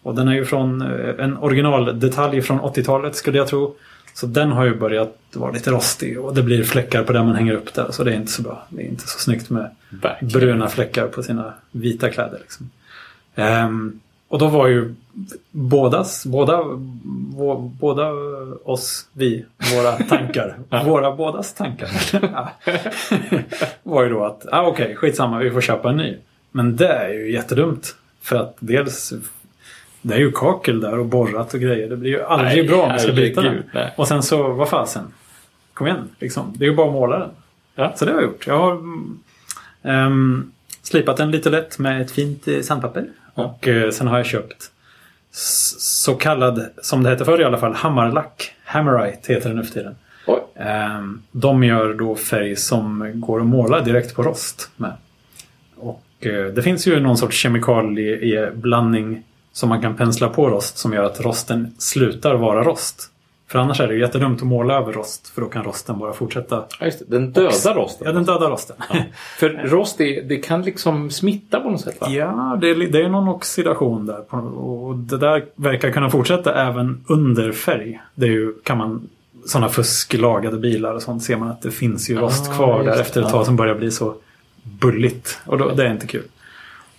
A: Och den är ju från eh, en originaldetalj från 80-talet skulle jag tro. Så den har ju börjat vara lite rostig och det blir fläckar på där man hänger upp där. Så det är inte så bra. Det är inte så snyggt med
B: Verkligen.
A: bruna fläckar på sina vita kläder. Liksom. Ehm, och då var ju bådas, båda, vå, båda oss, vi, våra tankar, våra bådas tankar ja, var ju då att ah, okej, skitsamma, vi får köpa en ny. Men det är ju jättedumt. För att dels, det är ju kakel där och borrat och grejer. Det blir ju aldrig
B: Nej,
A: bra om vi ska byta den.
B: herregud, nej.
A: Och sen så, vad fasen. Kom igen, liksom. Det är ju bara att måla den.
B: Ja.
A: Så det har jag gjort. Jag har mm, ehm, slipat den lite lätt med ett fint eh, sandpapper.
B: Ja.
A: Och eh, sen har jag köpt s- så kallad, som det hette förr i alla fall, hammarlack. Hammerite heter den nu för tiden.
B: Oj.
A: Ehm, De gör då färg som går att måla direkt på rost med. Och eh, det finns ju någon sorts kemikalieblandning som man kan pensla på rost som gör att rosten slutar vara rost. För annars är det ju jättedumt att måla över rost för då kan rosten bara fortsätta.
B: Ja, just det. Den dödar rosten.
A: Ja, den dödar rosten.
B: För rost är, det kan liksom smitta på något sätt va?
A: Ja, det är, li- det är någon oxidation där. på- Och det där verkar kunna fortsätta även under färg. Det är ju, kan man, sådana fusklagade bilar och sånt ser man att det finns ju rost
B: Ah,
A: kvar där
B: just
A: efter ett
B: det.
A: tag som börjar bli så bulligt. Och då, det är inte kul.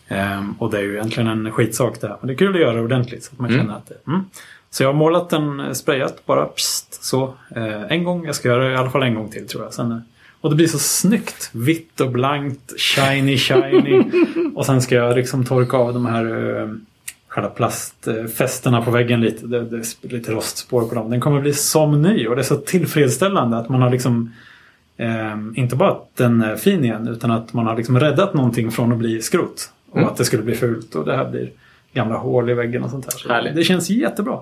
A: Ehm, och det är ju egentligen en skitsak det här. Men det är kul att göra det ordentligt så att man känner att det mm. Så jag har målat den, eh, sprayat bara pst, så. Eh, en gång, jag ska göra det i alla fall en gång till tror jag. Sen, eh, och det blir så snyggt. Vitt och blankt, shiny, shiny. och sen ska jag liksom torka av de här eh, själva plastfästena på väggen lite. Det, det är lite rostspår på dem. Den kommer bli som ny och det är så tillfredsställande att man har liksom Ehm, inte bara att den är fin igen utan att man har liksom räddat någonting från att bli skrot. Och Och
B: Mm.
A: att det skulle bli fult och det här blir gamla hål i väggen och sånt där. Så
B: Härligt.
A: det känns jättebra.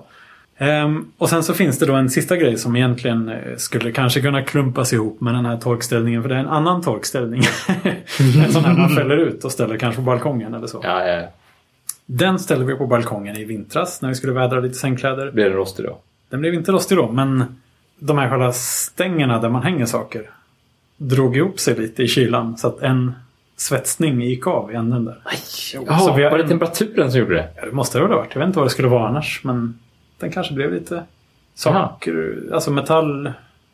A: Ehm, och sen så finns det då en sista grej som egentligen eh, skulle kanske kunna klumpas ihop med den här torkställningen. För det är en annan torkställning. en sån här man fäller ut och ställer kanske på balkongen eller så.
B: Ja, ja.
A: Den ställde vi på balkongen i vintras när vi skulle vädra lite sängkläder.
B: Blir det rost idag?
A: Den blev inte rostig då, men de här själva stängerna där man hänger saker drog ihop sig lite i kylan så att en svetsning gick av i änden där.
B: Nej!
A: så vi har
B: var det
A: en-
B: temperaturen som gjorde det?
A: Ja, det måste det väl ha varit. Jag vet inte vad det skulle vara annars, men den kanske blev lite saker. Alltså metall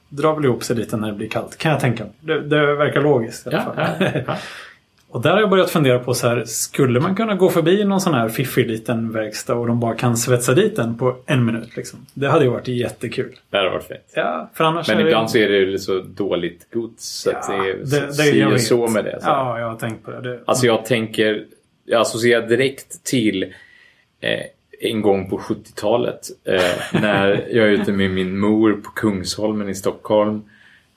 A: drar väl ihop sig lite när det blir kallt, kan jag tänka mig. Det, det verkar logiskt i alla
B: Ja,
A: fall.
B: ja, ja.
A: Och där har jag börjat fundera på så här, skulle man kunna gå förbi någon sån här fiffig liten verkstad och de bara kan svetsa dit den på en minut liksom. Det hade ju varit jättekul.
B: Det hade varit fint.
A: Ja, för annars är
B: Men
A: det-
B: ibland så är det ju så dåligt gods så att det är
A: det- det-
B: si
A: jag
B: och
A: vet.
B: så med det. Så.
A: Ja, jag har tänkt på det. det
B: Alltså jag tänker, jag associerar direkt till eh, en gång på 70-talet eh, när jag är ute med min mor på Kungsholmen i Stockholm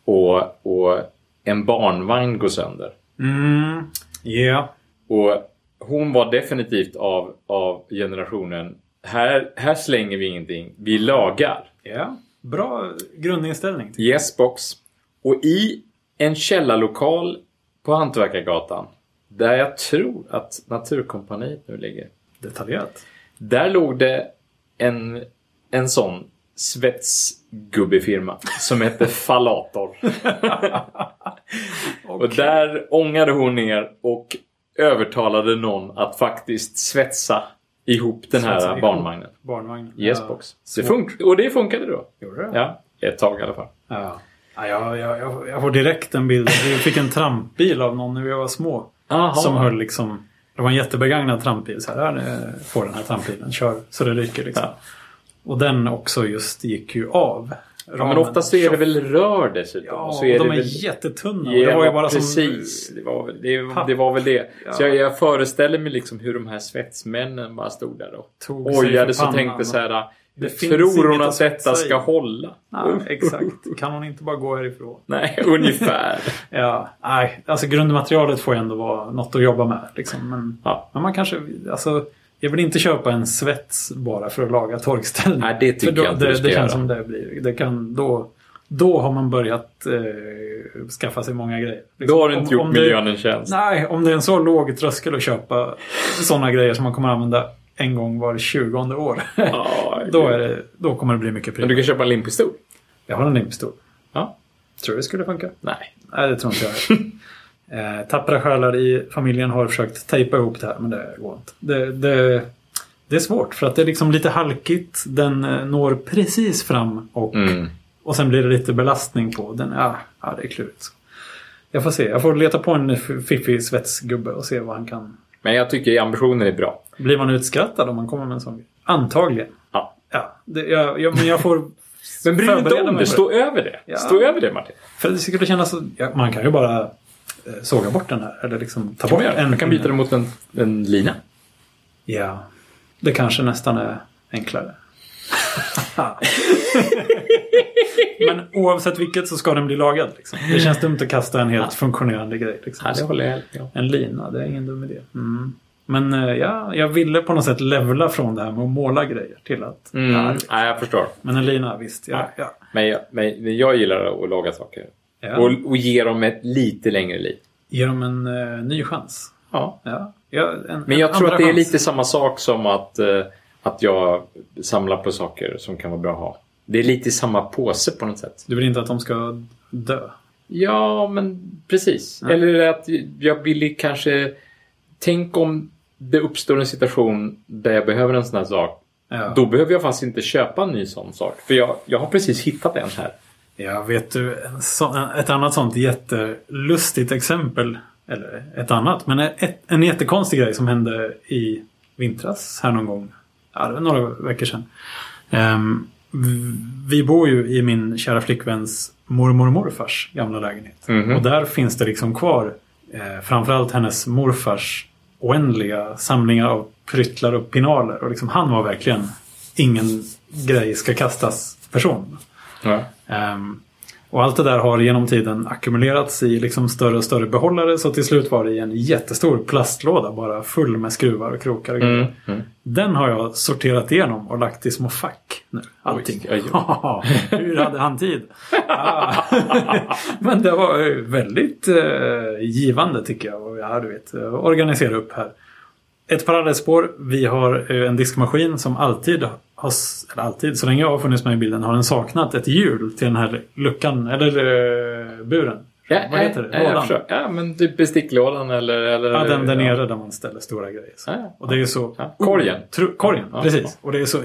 B: och, och en barnvagn går sönder.
A: mm, ja.
B: Och hon var definitivt av, av generationen, här, här slänger vi ingenting, vi lagar.
A: ja. Bra grundinställning. tycker
B: Yes box. Och i en källarlokal på Hantverkargatan, där jag tror att Naturkompaniet nu ligger,
A: jag. Detaljerat.
B: Där låg det en, en sån svetsgubbefirma som hette Fallator. Och där ångade hon ner och övertalade någon att faktiskt svetsa ihop den här
A: Svetsa ihop.
B: barnvagnen.
A: Barnvagn.
B: Yes
A: Ja.
B: box. Det fun- och det funkade då.
A: Gjorde det?
B: Ja, ett tag i alla fall.
A: Ja. Ja, jag, jag, jag- jag får direkt en bild. Vi fick en trampbil av någon när vi var små.
B: Aha.
A: Som höll liksom... Det var en jättebegagnad trampbil. Så här, här får den här trampbilen. Kör så det ryker liksom.
B: Ja.
A: Och den också just gick ju av.
B: Ja, men oftast så är det väl rör dessutom.
A: Ja,
B: och
A: och
B: så är
A: de
B: det
A: är
B: väl...
A: jättetunna. och
B: Ja,
A: det var ju bara
B: precis.
A: som...
B: Det, var väl, det,
A: Papp.
B: det var väl det. Så
A: Ja.
B: jag, jag föreställer mig liksom hur de här svetsmännen bara stod där och
A: Tog sig
B: ojade
A: för
B: sig och
A: pannan.
B: tänkte så här.
A: Det finns
B: tror hon
A: inget
B: att
A: att
B: detta
A: svetsa i."
B: ska hålla?
A: Nej, exakt. Kan hon inte bara gå härifrån?
B: Nej, ungefär.
A: Ja, nej. Alltså grundmaterialet får ju ändå vara något att jobba med. Liksom. Men,
B: Ja.
A: men man kanske... Alltså, jag vill inte köpa en svets bara för att laga torkställning.
B: Nej, det tycker
A: för då,
B: jag inte
A: det,
B: du ska
A: det
B: göra.
A: känns som det blir. Det kan, då, då har man börjat eh, skaffa sig många grejer.
B: Då
A: Liksom,
B: har du inte
A: om-
B: gjort
A: om det-
B: miljön en tjänst.
A: Nej, om det är en så låg tröskel att köpa sådana grejer som man kommer använda en gång var 20 år.
B: Ja,
A: då, är det, då kommer det bli mycket
B: Men du
A: prylar.
B: kan köpa en limpistol?
A: Jag har en limpistol.
B: Ja.
A: Tror du det skulle funka?
B: Nej.
A: Nej, det tror inte jag. eh, tappra själar i familjen har försökt tejpa ihop det här, men det går inte. Det, det, det är svårt, för att det är liksom lite halkigt. Den eh, når precis fram och,
B: Mm.
A: och sen blir det lite belastning på den. Ja, ja det är klurigt. Jag får se. Jag får leta på en f- fiffig svetsgubbe och se vad han kan.
B: Men jag tycker ambitionen är bra.
A: Blir man utskrattad om man kommer med en sån grej? Antagligen.
B: Ja.
A: Ja, det, jag, jag, men jag får...
B: Men bry dig inte
A: förbereda mig
B: om
A: för
B: det. Stå över det.
A: Ja.
B: Stå över det Martin.
A: För det skulle kännas så... Ja, man kan ju bara eh, såga bort den här. Eller liksom ta
B: Kan
A: bort
B: man, göra. man kan
A: pinne.
B: byta det mot en, en lina.
A: Ja, det kanske nästan är enklare. Men oavsett vilket så ska den bli lagad. Liksom. Det känns dumt att kasta en helt funktionerande grej. Liksom.
B: Ja, det håller jag helt med om.
A: En lina, det är ingen dum idé. Mm. Men eh, ja, jag ville på något sätt levla från det här med att måla grejer till att... Ja,
B: Mm. Nej, jag förstår.
A: men en lina, visst. Ja, ja.
B: Men jag, men men jag gillar att laga saker.
A: Ja.
B: Och, och ge dem ett lite längre liv.
A: Ge dem en eh, ny chans.
B: Ja.
A: Ja. Ja, en,
B: Men
A: en
B: jag tror
A: andra
B: att det är
A: chans.
B: lite samma sak som att, eh, att jag samlar på saker som kan vara bra att ha. Det är lite i samma påse på något sätt.
A: Du vill inte att de ska dö?
B: Ja, men precis. Eller att jag vill kanske... Tänk om det uppstår en situation där jag behöver en sån här sak.
A: Ja.
B: Då behöver jag faktiskt inte köpa en ny sån sak. För jag, jag har precis hittat en här.
A: Ja, vet du, en så, ett annat sånt jättelustigt exempel. Eller ett annat, men ett, en jättekonstig grej som hände i vintras här någon gång. Ja, det var några veckor sedan. Ehm, v- vi bor ju i min kära flickväns mormor och morfars gamla lägenhet.
B: Mhm.
A: Och där finns det liksom kvar eh, framförallt hennes morfars oändliga samlingar av pryttlar och pinaler. Och liksom, han var verkligen ingen grej ska kastas person.
B: Ja.
A: Ehm, Och allt det där har genom tiden ackumulerats i liksom större och större behållare så till slut var det i en jättestor plastlåda bara full med skruvar och krokar och grejer.
B: Mm. Mm.
A: Den har jag sorterat igenom och lagt i små fack nu. Allting.
B: oj, oj.
A: Ja, Hur hade han tid? Ah. Men det var ju väldigt eh, givande tycker jag. Och ja, du vet, eh, organisera upp här. Ett parallellspår. Vi har eh, en diskmaskin som alltid, har, s- eller alltid, så länge jag har funnits med i bilden, har den saknat ett hjul till den här luckan, eller eh, buren.
B: Ja,
A: Vad heter det?
B: Ja, jag
A: Lådan.
B: förstår. ja, men typ besticklådan eller... eller
A: Ja, den där
B: ja.
A: nere där man ställer stora grejer. Så.
B: Ja, ja.
A: Och det är ju så...
B: Ja, korgen.
A: Tru- korgen,
B: Ja,
A: precis. Och det är så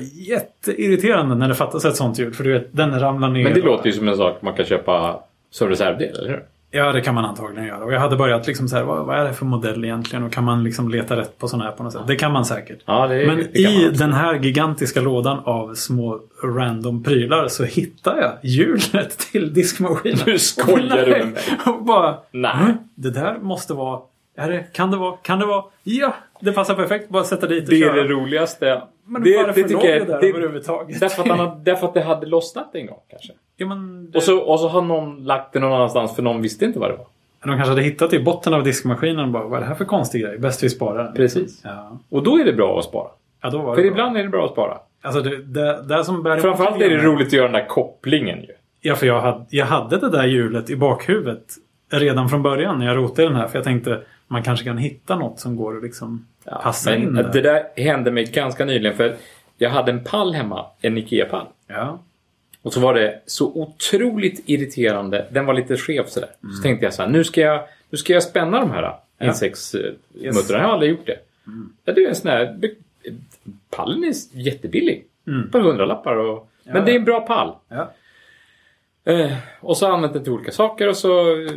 A: jätteirriterande när det fattas ett sånt ljud. För du vet, den ramlar ner.
B: Men det låter ju som en sak man kan köpa som reservdel, eller hur?
A: Ja, det kan man antagligen göra. Och jag hade börjat liksom så här, vad, vad är det för modell egentligen? Och kan man liksom leta rätt på sådana här på något sätt? Det kan man säkert.
B: Ja, det,
A: Men
B: det kan
A: i
B: man.
A: den här gigantiska lådan av små random prylar så hittar jag hjulet till diskmaskinen.
B: Nu skojar du med mig.
A: Och bara, "Hm,
B: Nej.
A: det där måste vara, är det, kan det vara, kan det vara, ja, det passar perfekt. Bara sätta dit och
B: Det är
A: köra.
B: det roligaste.
A: Men
B: det,
A: varför låg det där
B: det,
A: överhuvudtaget?
B: därför, att han, har- därför att det hade lossnat en gång kanske.
A: ja, men det...
B: Och, så, och så har någon lagt det någon annanstans för någon visste inte vad det var.
A: De kanske hade hittat det i botten av diskmaskinen och bara, vad är det här för konstig grej? Bäst vi sparar den.
B: Precis.
A: Ja.
B: Och då är det bra att spara.
A: ja, då var
B: För
A: det bra.
B: ibland är det bra att spara.
A: Alltså det, det, det som bär emot
B: Framförallt
A: lite
B: är det
A: grann-
B: roligt att göra den där kopplingen ju.
A: Ja, för jag hade, jag hade det där hjulet i bakhuvudet redan från början när jag rotade i den här. För jag tänkte man kanske kan hitta något som går att liksom passa
B: men
A: in där.
B: det där hände mig ganska nyligen för jag hade en pall hemma, en IKEA-pall.
A: Ja.
B: Och så var det så otroligt irriterande. Den var lite skev sådär.
A: Mm.
B: Så tänkte jag så här, nu ska jag, nu ska jag spänna de här ja. insektsmuttrarna. Jag har aldrig gjort det.
A: Mm.
B: Ja, det är en sån här... Pallen är jättebillig.
A: Mm.
B: Ett par hundralappar och... men det är en bra pall.
A: Ja.
B: Eh, och så har jag använt den till olika saker och så... eh,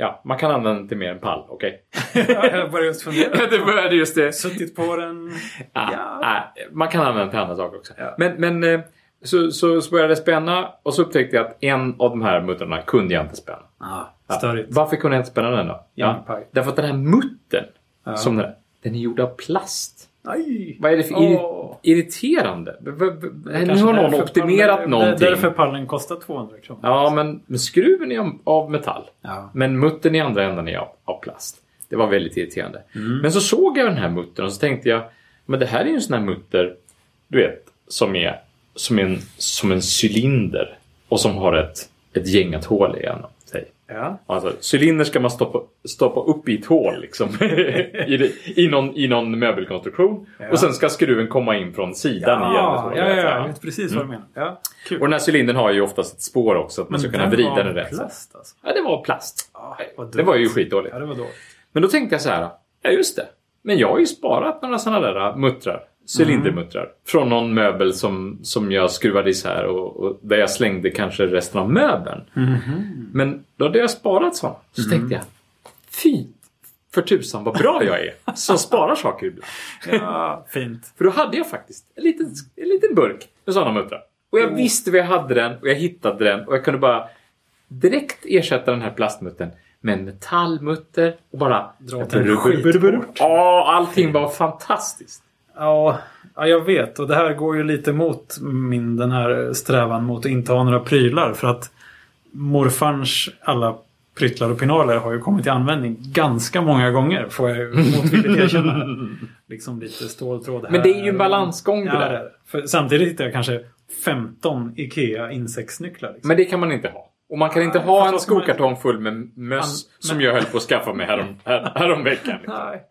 B: Ja, man kan använda den till mer än pall. Okej.
A: jag började just fundera.
B: det började just det.
A: Suttit på den.
B: Ah,
A: Ja.
B: ah, man kan använda den till andra saker också.
A: Ja.
B: Men, men eh, så, så, så började jag spänna och så upptäckte jag att en av de här muttrarna kunde jag inte spänna.
A: Ja,
B: Ja.
A: störigt.
B: Varför kunde jag inte spänna den då?
A: Ingen paj.
B: Därför att den här muttern, som den, är, den är gjord av plast.
A: Nej.
B: Vad är det för
A: Åh.
B: irri- irriterande? V- v- v- nu har någon optimerat någonting.
A: Därför pallen kostar 200 kronor.
B: Ja, men, men skruven är av- av metall.
A: Ja.
B: Men muttern i andra änden är av, av plast. Det var väldigt irriterande.
A: Mm.
B: Men så såg jag den här muttern och så tänkte jag, men det här är ju en sån här mutter, du vet, som är som en, som en cylinder och som har ett, ett gängat hål igenom sig.
A: Ja.
B: Alltså, cylinder ska man stoppa, stoppa upp i ett hål liksom. I, det, i, någon, I någon möbelkonstruktion.
A: Ja.
B: Och sen ska skruven komma in från sidan
A: Ja,
B: igen.
A: ja, ja, jag vet precis vad
B: Mm.
A: du menar. Ja.
B: Och den här cylindern har ju oftast ett spår också. Att man ska kunna
A: Mm, den
B: vrida
A: var
B: den rätt.
A: Plast, alltså.
B: Ja, det var plast.
A: Ja, vad
B: det var ju
A: dumt.
B: skitdåligt.
A: Ja, det var dåligt.
B: Men då tänkte jag så här. Ja, just det. Men jag har ju sparat några sådana där äh, muttrar. Cylindermuttrar. Från någon möbel som, som jag skruvade isär och, och där jag slängde kanske resten av möbeln. Men då hade jag sparat sådana. Så tänkte jag. Fy för tusan vad bra jag är som sparar saker ibland.
A: Ja, fint.
B: För då hade jag faktiskt en liten, en liten burk med sådana muttrar. Och jag visste var jag hade den och jag hittade den och jag kunde bara direkt ersätta den här plastmuttern med en metallmutter och bara...
A: Dra åt den skithårt.
B: Ja, allting var fantastiskt.
A: Ja, ja, jag vet. Och det här går ju lite mot min den här strävan mot att inte ha några prylar. För att morfars alla pryttlar och pinaler har ju kommit till användning ganska många gånger. Får jag ju motvilligt erkänna. liksom lite ståltråd här.
B: Men det är ju en balansgång det
A: Ja, det är
B: där.
A: det. För samtidigt hittar jag kanske 15 IKEA insektsnycklar. Liksom.
B: Men det kan man inte ha. Och man kan inte
A: Nej,
B: ha
A: fast
B: en
A: då ska man-
B: skokartong full med möss
A: An-
B: som jag höll på att skaffa mig härom, här, häromveckan.
A: Nej.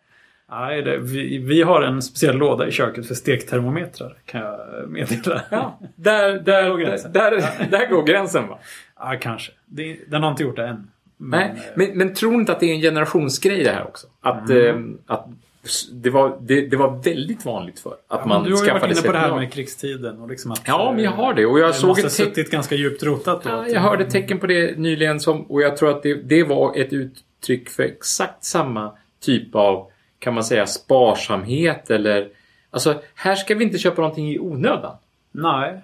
A: Nej, det, vi, vi har en speciell låda i köket för stektermometrar kan jag meddela.
B: Ja, där, där,
A: går
B: där,
A: gränsen.
B: där, där går gränsen va.
A: Ja, kanske. Det, den har inte gjort det än. Men, eh,
B: Nej, men, men tror inte att det är en generationsgrej det här också? Att,
A: Mm.
B: eh, att s- det, var, det, det var väldigt vanligt för att
A: Man
B: man
A: du har ju
B: skaffade
A: varit inne
B: sig
A: på det
B: ett
A: här
B: lag.
A: med krigstiden. Och liksom att,
B: Ja, men jag har det. Och jag
A: det
B: såg
A: måste ha
B: ett tecken...
A: suttit ganska djupt rotat då.
B: Ja, jag hörde ett tecken på det nyligen som, och jag tror att det, det var ett uttryck för exakt samma typ av, kan man säga, sparsamhet eller... Alltså, här ska vi inte köpa någonting i onödan.
A: Nej.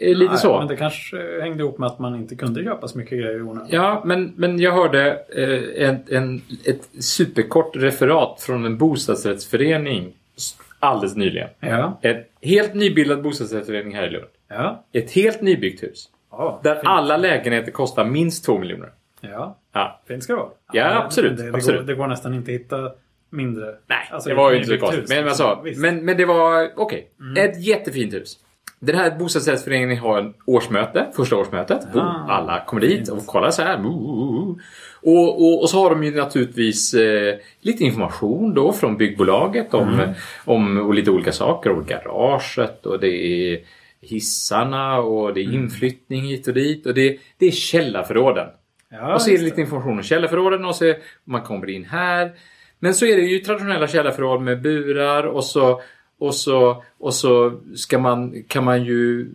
B: Eh, Lite
A: nej,
B: så.
A: Men det kanske eh, hängde ihop med att man inte kunde köpa så mycket grejer i onödan.
B: Ja, men, men jag hörde eh, en, en, ett superkort referat från en bostadsrättsförening s- alldeles nyligen.
A: Ja.
B: En helt nybildad bostadsrättsförening här i Lund.
A: Ja.
B: Ett helt nybyggt hus.
A: Ja,
B: Där Ah!
A: fint.
B: alla lägenheter kostar minst 2 miljoner.
A: Ja,
B: Ja.
A: fint ska det vara.
B: Ja, absolut,
A: Det, det, Går,
B: absolut.
A: det går nästan inte att hitta mindre.
B: Nej,
A: alltså,
B: det var ju
A: i
B: inte så
A: byggt
B: konstigt.
A: hus,
B: Men,
A: liksom.
B: alltså,
A: Visst. Mm.
B: men, men det var okej. Ett jättefint hus. Den här bostadsrättsföreningen har en årsmöte, första årsmötet.
A: Ah.
B: Oh, alla kommer dit och kollar så här. Oh, oh, oh. Och, och, och så har de ju naturligtvis eh, lite information då från byggbolaget om,
A: Mm.
B: om och lite olika saker. Och garaget och det är hissarna och det
A: Mm.
B: är inflyttning hit och dit. Och det, det är källarförråden.
A: ja,
B: Och så är det
A: just
B: lite information om källarförråden och så är, man kommer in här. Men så är det ju traditionella källarförråd med burar och så, och så, och så ska man, kan man ju...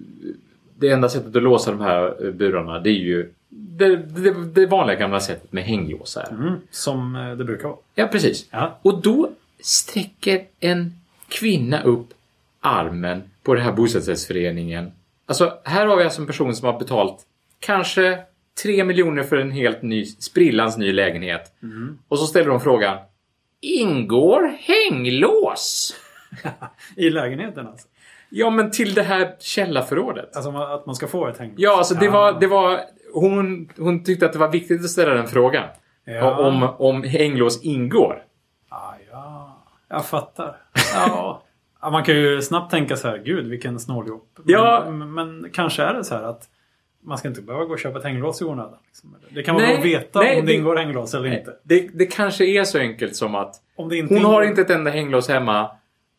B: Det enda sättet att låsa de här eh, burarna det är ju det, det, det vanliga gamla sättet med hänglåsar.
A: Mm, som eh, det brukar vara.
B: Ja, precis.
A: Ja.
B: Och då sträcker en kvinna upp armen på den här bostadsrättsföreningen. Alltså, här har vi alltså en person som har betalt kanske 3 miljoner för en helt ny, sprillans ny lägenhet. Och så ställer de frågan Ingår hänglås?
A: I lägenheten alltså.
B: Ja, men till det här källarförrådet.
A: Alltså man- att man ska få ett häng.
B: Ja, alltså det var... Det var hon, hon tyckte att det var viktigt att ställa den frågan.
A: Ja.
B: Om, om hänglås ingår.
A: Ah, ja, jag fattar. Ja. ja, man kan ju snabbt tänka så här, gud vilken snåljåp. Men,
B: Ja.
A: men, men kanske är det så här att man ska inte behöva gå och köpa ett hänglås i onödan. Liksom. Det kan vara
B: Nej,
A: bra att veta
B: nej,
A: om det
B: det-
A: ingår hänglås eller inte.
B: Det, det kanske är så enkelt som att
A: Om det inte
B: Hon
A: ingår-
B: har inte ett enda hänglås hemma.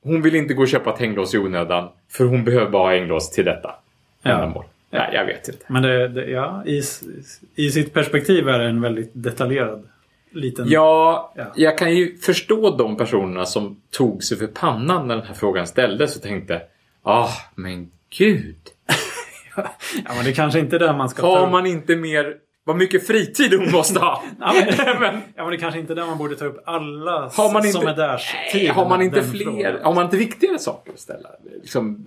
B: Hon vill inte gå och köpa ett hänglås i onödan. För hon behöver bara ha hänglås till detta
A: Ja.
B: ändamål. Nej, jag vet inte.
A: Men det, det, ja, i, s- i sitt perspektiv är det en väldigt detaljerad liten...
B: Ja,
A: Ja.
B: jag kan ju förstå de personerna som tog sig för pannan när den här frågan ställdes och tänkte Ah, men gud.
A: Ja, men det kanske inte är där man ska ta
B: Har
A: upp.
B: man inte mer... Vad mycket fritid hon måste ha!
A: Ja, men-
B: men,
A: Ja, men det kanske inte är där man borde ta upp alla s-
B: Har man inte-
A: som är där.
B: Nej, har man inte fler... Har man inte viktigare saker att ställa? Liksom,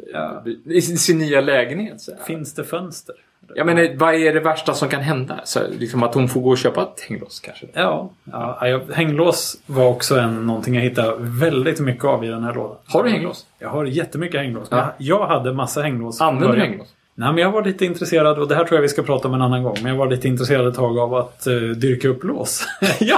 B: I sin, sin nya lägenhet? Så här.
A: Finns det fönster?
B: Jag menar, vad är det värsta som kan hända? Så, liksom att hon får gå och köpa ett hänglås kanske?
A: Ja, ja jag, hänglås var också en, någonting jag hittade väldigt mycket av i den här lådan.
B: Har du hänglås?
A: Jag har jättemycket hänglås.
B: Ja.
A: Men Jag jag hade massa hänglås. från
B: Använder du
A: början.
B: hänglås?
A: Nej, men jag var lite intresserad, och det här tror jag vi ska prata om en annan gång, men jag var lite intresserad ett tag av att eh, dyrka upp lås.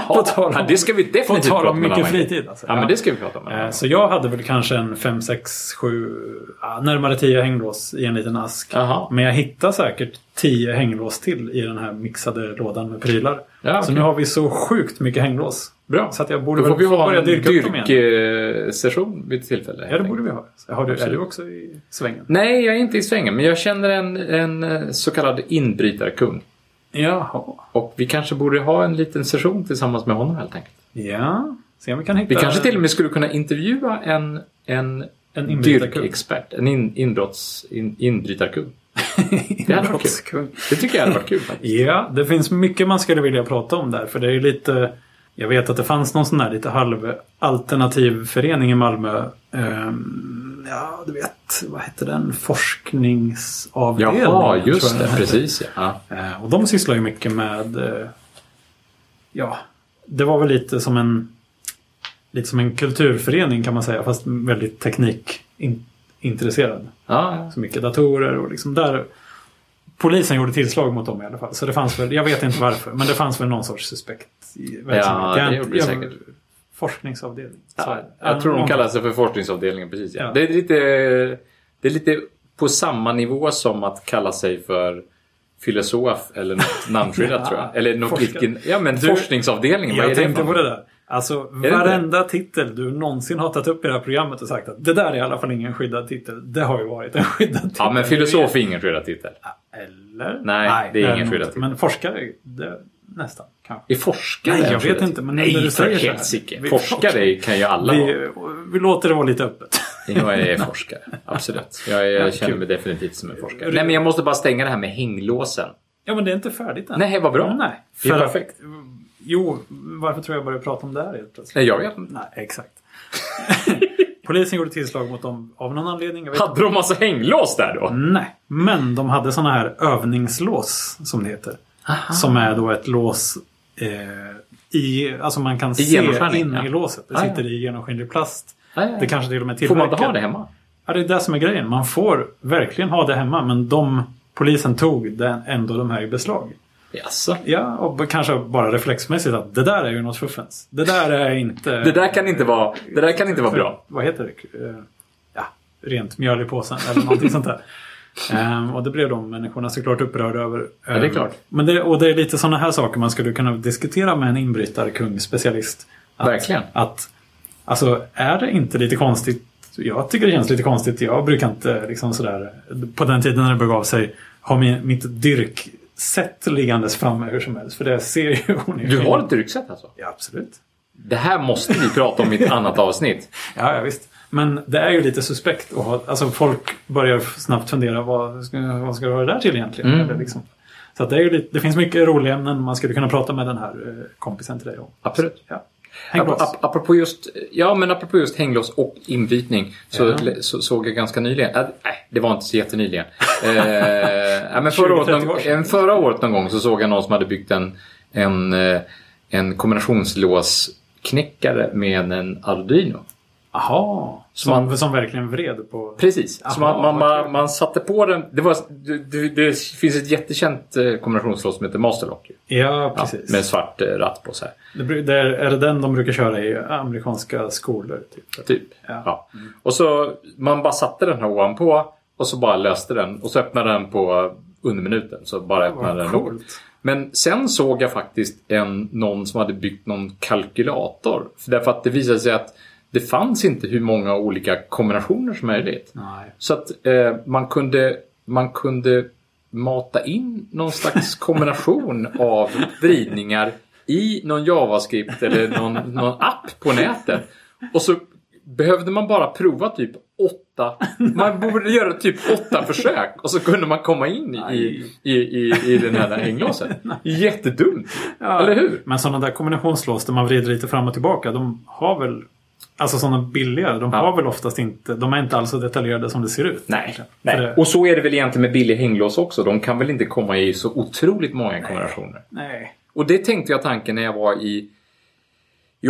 A: På tal om-
B: ja, det ska vi
A: På
B: definitivt
A: tal
B: prata
A: om
B: om en
A: mycket
B: annan gång.
A: fritid. Alltså.
B: Ja, men det ska vi prata om. en annan
A: Eh,
B: gång.
A: Så jag hade väl kanske en 5, 6, 7, ja, närmare 10 hänglås i en liten ask.
B: Jaha.
A: Men jag hittade säkert 10 hänglås till i den här mixade lådan med prylar.
B: Ja,
A: Så
B: okej.
A: nu har vi så sjukt mycket hänglås.
B: Bra.
A: Så att jag borde
B: Då får
A: väl
B: vi ha
A: börja
B: en
A: dyrka upp dem igen.
B: dyrksession vid ett tillfälle.
A: Ja, det borde vi ha. Har du, är du
B: Absolut.
A: också i svängen?
B: Nej, jag är inte i svängen, men jag känner en, en eh, så kallad inbrytarkung.
A: Jaha.
B: Och vi kanske borde ha en liten session tillsammans med honom helt enkelt.
A: Ja, se om vi kan hitta...
B: Vi kanske till och med skulle kunna intervjua en, en,
A: En inbrytarkung.
B: dyrkexpert. En in, inbrotts, in, inbrytarkung. Det hade varit kul.
A: Inbrottskung.
B: Det tycker jag hade varit kul faktiskt.
A: Ja, det finns mycket man skulle vilja prata om där. För det är ju lite... Jag vet att det fanns någon sån här lite halv alternativ förening i Malmö. Ehm, ja, du vet. Vad hette den? Forskningsavdelningen.
B: Jaha,
A: tror
B: just
A: jag den
B: det.
A: hette.
B: Precis ja.
A: Eh, Och de sysslar ju mycket med... eh, Ja, det var väl lite som en... Lite som en kulturförening kan man säga. Fast väldigt teknikintresserad
B: ja.
A: så mycket datorer och liksom där. Polisen gjorde tillslag mot dem i alla fall. Så det fanns väl, jag vet inte varför, men det fanns väl någon sorts suspekt i verksamhet.
B: det
A: Jag-
B: gjorde det
A: jag-
B: säkert.
A: Forskningsavdelning.
B: ja.
A: Så-
B: Jag tror de
A: någon-
B: kallar sig för forskningsavdelningen. Precis, ja.
A: Ja.
B: Det, är lite, det är lite på samma nivå som att kalla sig för filosof eller något namnskyddat
A: Ja.
B: tror jag. Eller något
A: Forskare.
B: vilken, ja, men
A: Du,
B: forskningsavdelningen. vad
A: Jag
B: är det
A: tänkte
B: för
A: på
B: något?
A: det där. Alltså
B: det
A: varenda titel du någonsin har tagit upp i det här programmet och sagt att det där är i alla fall ingen skyddad titel. Det har ju varit en skyddad titel.
B: Ja, men filosof är ingen skyddad titel.
A: Eller?
B: Nej, det är ingen
A: nog
B: skyddad
A: inte.
B: titel.
A: Men forskare, det, nästan kanske.
B: Är forskare
A: Nej, jag
B: en
A: vet
B: skyddad titel?
A: inte, men när du
B: Nej,
A: säger
B: för
A: så här-
B: helsike.
A: Vi-
B: Forskare kan ju alla vara.
A: Vi, vi låter det vara lite öppet.
B: Jag är forskare, absolut. Jag, är-
A: Ja,
B: känner
A: kul.
B: mig definitivt som en forskare.
A: Är du-
B: Nej, men jag måste bara stänga det här med hänglåsen.
A: Ja, men det är inte färdigt än.
B: Nej, vad bra.
A: Nej,
B: Det är
A: för-
B: perfekt.
A: Jo, varför tror jag började prata om det här helt plötsligt?
B: Nej, jag vet inte.
A: Nej, exakt. Polisen gjorde tillslag mot dem av någon anledning. Jag vet inte.
B: Hade de massa hänglås där då?
A: Nej, men de hade sådana här övningslås som det heter. Som är då ett lås eh, i, alltså man kan se
B: genomskinlig,
A: in
B: ja.
A: i låset. Det
B: Ah, ja.
A: sitter i genomskinlig plast.
B: Ah, ja, ja.
A: Det kanske till och med
B: Får man
A: tillverkar.
B: inte ha det hemma?
A: Ja, det är det som är grejen. Man får verkligen ha det hemma men de polisen tog den, ändå de här i beslag.
B: Jaså?
A: Ja, och b- kanske bara reflexmässigt att det där är ju något fuffens. Det där är inte...
B: Det där kan inte vara, det där kan inte vara bra.
A: Vad heter det? Eh, Ja, rent mjöl i påsen eller någonting sånt där. Ehm, och det blev de människorna såklart upprörda över.
B: det är
A: Ehm,
B: klart.
A: Men det, och det är lite sådana här saker man skulle kunna diskutera med en inbrytarkung-specialist. Att,
B: Verkligen.
A: Att, alltså, är det inte lite konstigt? Jag tycker det känns lite konstigt. Jag brukar inte liksom sådär, på den tiden när det begav sig, ha min, mitt dyrk sett liggandes framme hur som helst. För det ser ju
B: Du
A: onekligen-
B: har ett ryggsäck alltså?
A: Ja, absolut.
B: Det här måste vi prata om i ett annat avsnitt.
A: Ja, ja visst. Men det är ju lite suspekt. att ha, alltså folk börjar snabbt fundera vad ska, vad ska du ha det där till egentligen?
B: Mm.
A: Eller liksom. Så att det, är ju lite, det finns mycket roliga ämnen man skulle kunna prata med den här eh, kompisen till dig om.
B: Absolut.
A: Ja. Häng på
B: Ap-
A: oss.
B: ap- Apropå just, ja, men apropå just hänglås och inbrytning så,
A: Ja.
B: le- så såg jag ganska nyligen, äh, nej, det var inte så jättenyligen. eh, ja, men förra, året,
A: 20-30 år
B: någon,
A: sedan.
B: eh, förra året någon gång så såg jag någon som hade byggt en, en, eh, en kombinationslåsknäckare med en Arduino.
A: Jaha, som, som, verkligen vred på...
B: Precis. så
A: Aha,
B: man, man,
A: vad kul.
B: man, man satte på den. Det, var, det, det, det finns ett jättekänt eh, kombinationslås som heter Masterlock. ju.
A: Ja,
B: Ja,
A: precis.
B: med en svart eh, ratt på så här.
A: Det, bru- det är, är det den de brukar köra i amerikanska skolor? Typ.
B: Typ.
A: Ja.
B: Ja. Och så man bara satte den här ovanpå och så bara löste den och så öppnade den på under minuten. Så bara öppnade
A: Vad
B: den.
A: coolt.
B: Men sen såg jag faktiskt en, någon som hade byggt någon kalkylator. För därför att det visade sig att det fanns inte hur många olika kombinationer som möjligt.
A: Nej.
B: Så att eh, man, kunde, man kunde mata in någon slags kombination av vridningar i någon JavaScript eller någon, någon app på nätet. Och så behövde man bara prova typ åtta, man borde göra typ åtta försök och så kunde man komma in i, i, i, i den här hänglåset. Jättedumt!
A: Ja,
B: Eller hur?
A: Men sådana där kombinationslås där man vrider lite fram och tillbaka, de har väl... Alltså sådana billigare, de
B: Ja.
A: har väl oftast inte... De är inte alls så detaljerade som det ser ut.
B: Nej,
A: För
B: nej. Oh.
A: det-
B: Och så är det väl egentligen med billiga hänglås också. De kan väl inte komma i så otroligt många kombinationer.
A: nej.
B: Och det tänkte jag tanken när jag var i, i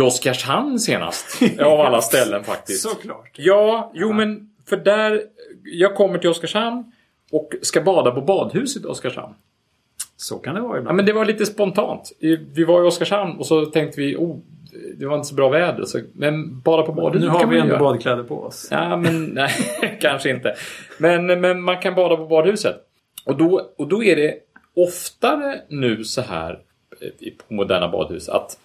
B: Oskarshamn senast. Av alla ställen faktiskt.
A: Såklart.
B: Ja, jo men för där... Jag kommer till Oskarshamn och ska bada på badhuset i Oskarshamn.
A: Så kan det vara
B: Ja,
A: ibland.
B: men det var lite spontant. I- Vi var i Oskarshamn och så tänkte vi oh, det var inte så bra väder. Så, men bada på
A: nu
B: badhuset
A: har
B: kan
A: vi
B: man
A: ändå
B: göra.
A: badkläder på oss.
B: Ja, men nej, kanske inte. Men, men man kan bada på badhuset. Och då, och då är det oftare nu så här eh, i- på moderna badhus att,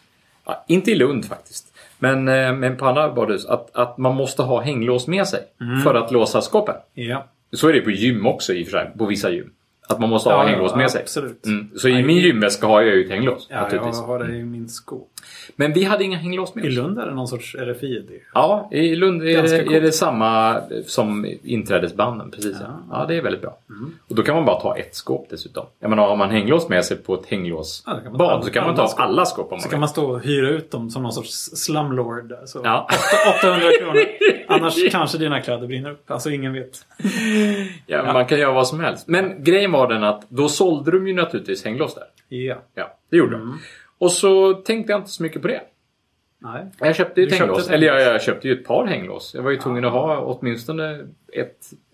B: ja, inte i Lund faktiskt, men, eh, men på andra badhus, att, att man måste ha hänglås med sig
A: Mm.
B: för att låsa skåpen.
A: Ja.
B: Så är det på gym också i och för sig, på vissa gym. Att man måste ha
A: Ja,
B: hänglås
A: ja,
B: med sig.
A: absolut.
B: Mm. Så i min gymväska har jag ju ett hänglås.
A: Ja, jag
B: naturligtvis.
A: har det i min sko.
B: Men vi hade inga hänglås med
A: I
B: oss.
A: Lund är det någon sorts RFID.
B: Ja, i Lund är
A: Ganska
B: det,
A: coolt.
B: är det samma som inträdesbanden. Precis. Ja,
A: Ah.
B: ja det är väldigt bra.
A: Mm.
B: Och då kan man bara ta ett skåp dessutom. Jag menar, har man hänglås med sig på ett
A: Ja, då kan man
B: hänglåsbad
A: ta alla-
B: så kan man
A: alla
B: ta
A: skåp.
B: alla skåp om
A: Så
B: man
A: kan
B: vill.
A: man stå och hyra ut dem som någon sorts slumlord. där. Så
B: Ja.
A: 800 kronor. Annars kanske dina kläder brinner upp. Alltså ingen vet.
B: Ja, Man kan göra vad som helst. Men grejen var den att då sålde de ju naturligtvis hänglås där.
A: Ja.
B: Ja, det gjorde
A: Mm.
B: de. Och så tänkte jag inte så mycket på det.
A: Nej.
B: Jag köpte ju ett
A: Du köpte
B: hänglås.
A: ett
B: Eller jag, jag köpte ju ett par hänglås. Jag var ju tvungen att ha åtminstone ett,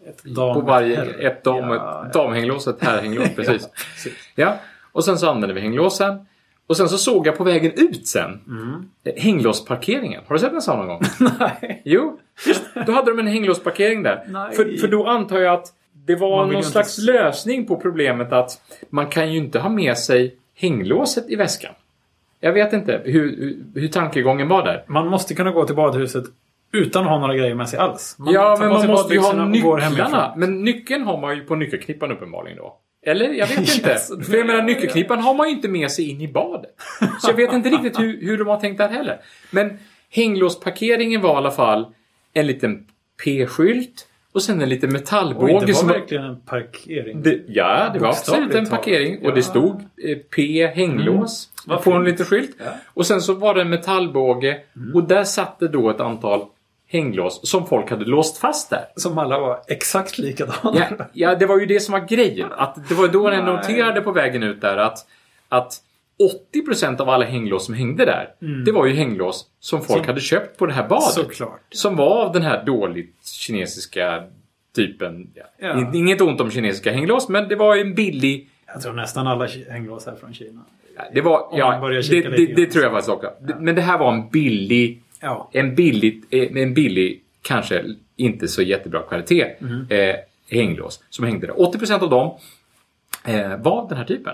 A: Ett dam
B: på
A: och
B: varje.
A: herr.
B: Ett dam, och
A: Ja,
B: ett damhänglås och ett herrhänglås. Precis.
A: Ja, precis.
B: Ja, och sen så använde vi hänglåsen. Och sen så såg jag på vägen ut sen
A: Mm.
B: eh, hänglåsparkeringen. Har du sett en sån någon gång?
A: Nej.
B: jo, just, då hade de en hänglåsparkering där.
A: Nej.
B: För, för då antar jag att det var
A: Man vill
B: någon
A: ju inte
B: slags
A: s-
B: lösning på problemet att man kan ju inte ha med sig hänglåset i väskan. Jag vet inte hur, hur, hur tankegången var där.
A: Man måste kunna gå till badhuset utan att ha några grejer med sig alls. Man
B: ja,
A: tar
B: men
A: på
B: man
A: sig
B: måste ju ha
A: badbyxorna och går
B: nycklarna.
A: hemifrån.
B: Men nyckeln har man ju på nyckelknippan uppenbarligen då. Eller? Jag vet inte.
A: Yes.
B: För jag menar, nyckelknippan har man ju inte med sig in i badet. Så jag vet inte riktigt hur, hur de har tänkt där heller. Men hänglåsparkeringen var i alla fall en liten P-skylt och sen en liten
A: Oj,
B: metallbåge
A: det var
B: som...
A: verkligen en parkering.
B: Det, ja, det var
A: Bokstavligt
B: absolut en
A: talat.
B: parkering. Mm. Och
A: Ja.
B: det stod eh, P hänglås
A: Vad
B: på en
A: fint.
B: liten skylt.
A: Ja.
B: Och sen så var det en metallbåge och där satt det då ett antal hänglås som folk hade låst fast där.
A: Som alla var exakt likadana.
B: Ja, ja, det var ju det som var grejen. Att det var då jag
A: Nej.
B: noterade på vägen ut där att, att 80% av alla hänglås som hängde där,
A: Mm.
B: det var ju hänglås som folk
A: Som-
B: hade köpt på det här badet.
A: Såklart.
B: Som var av den här dåligt kinesiska Typ en, ja.
A: Ja.
B: Inget ont om kinesiska hänglås, men det var en billig...
A: Jag tror nästan alla ki- hänglås är från Kina.
B: Det var...
A: Om man
B: Ja,
A: börjar
B: det,
A: kika
B: det,
A: lite
B: det
A: grann.
B: tror jag faktiskt också. Men det här var en billig...
A: Ja.
B: En billig, eh, en billig kanske inte så jättebra kvalitet,
A: Mhm.
B: eh, hänglås som hängde där. 80% av dem eh, var den här typen.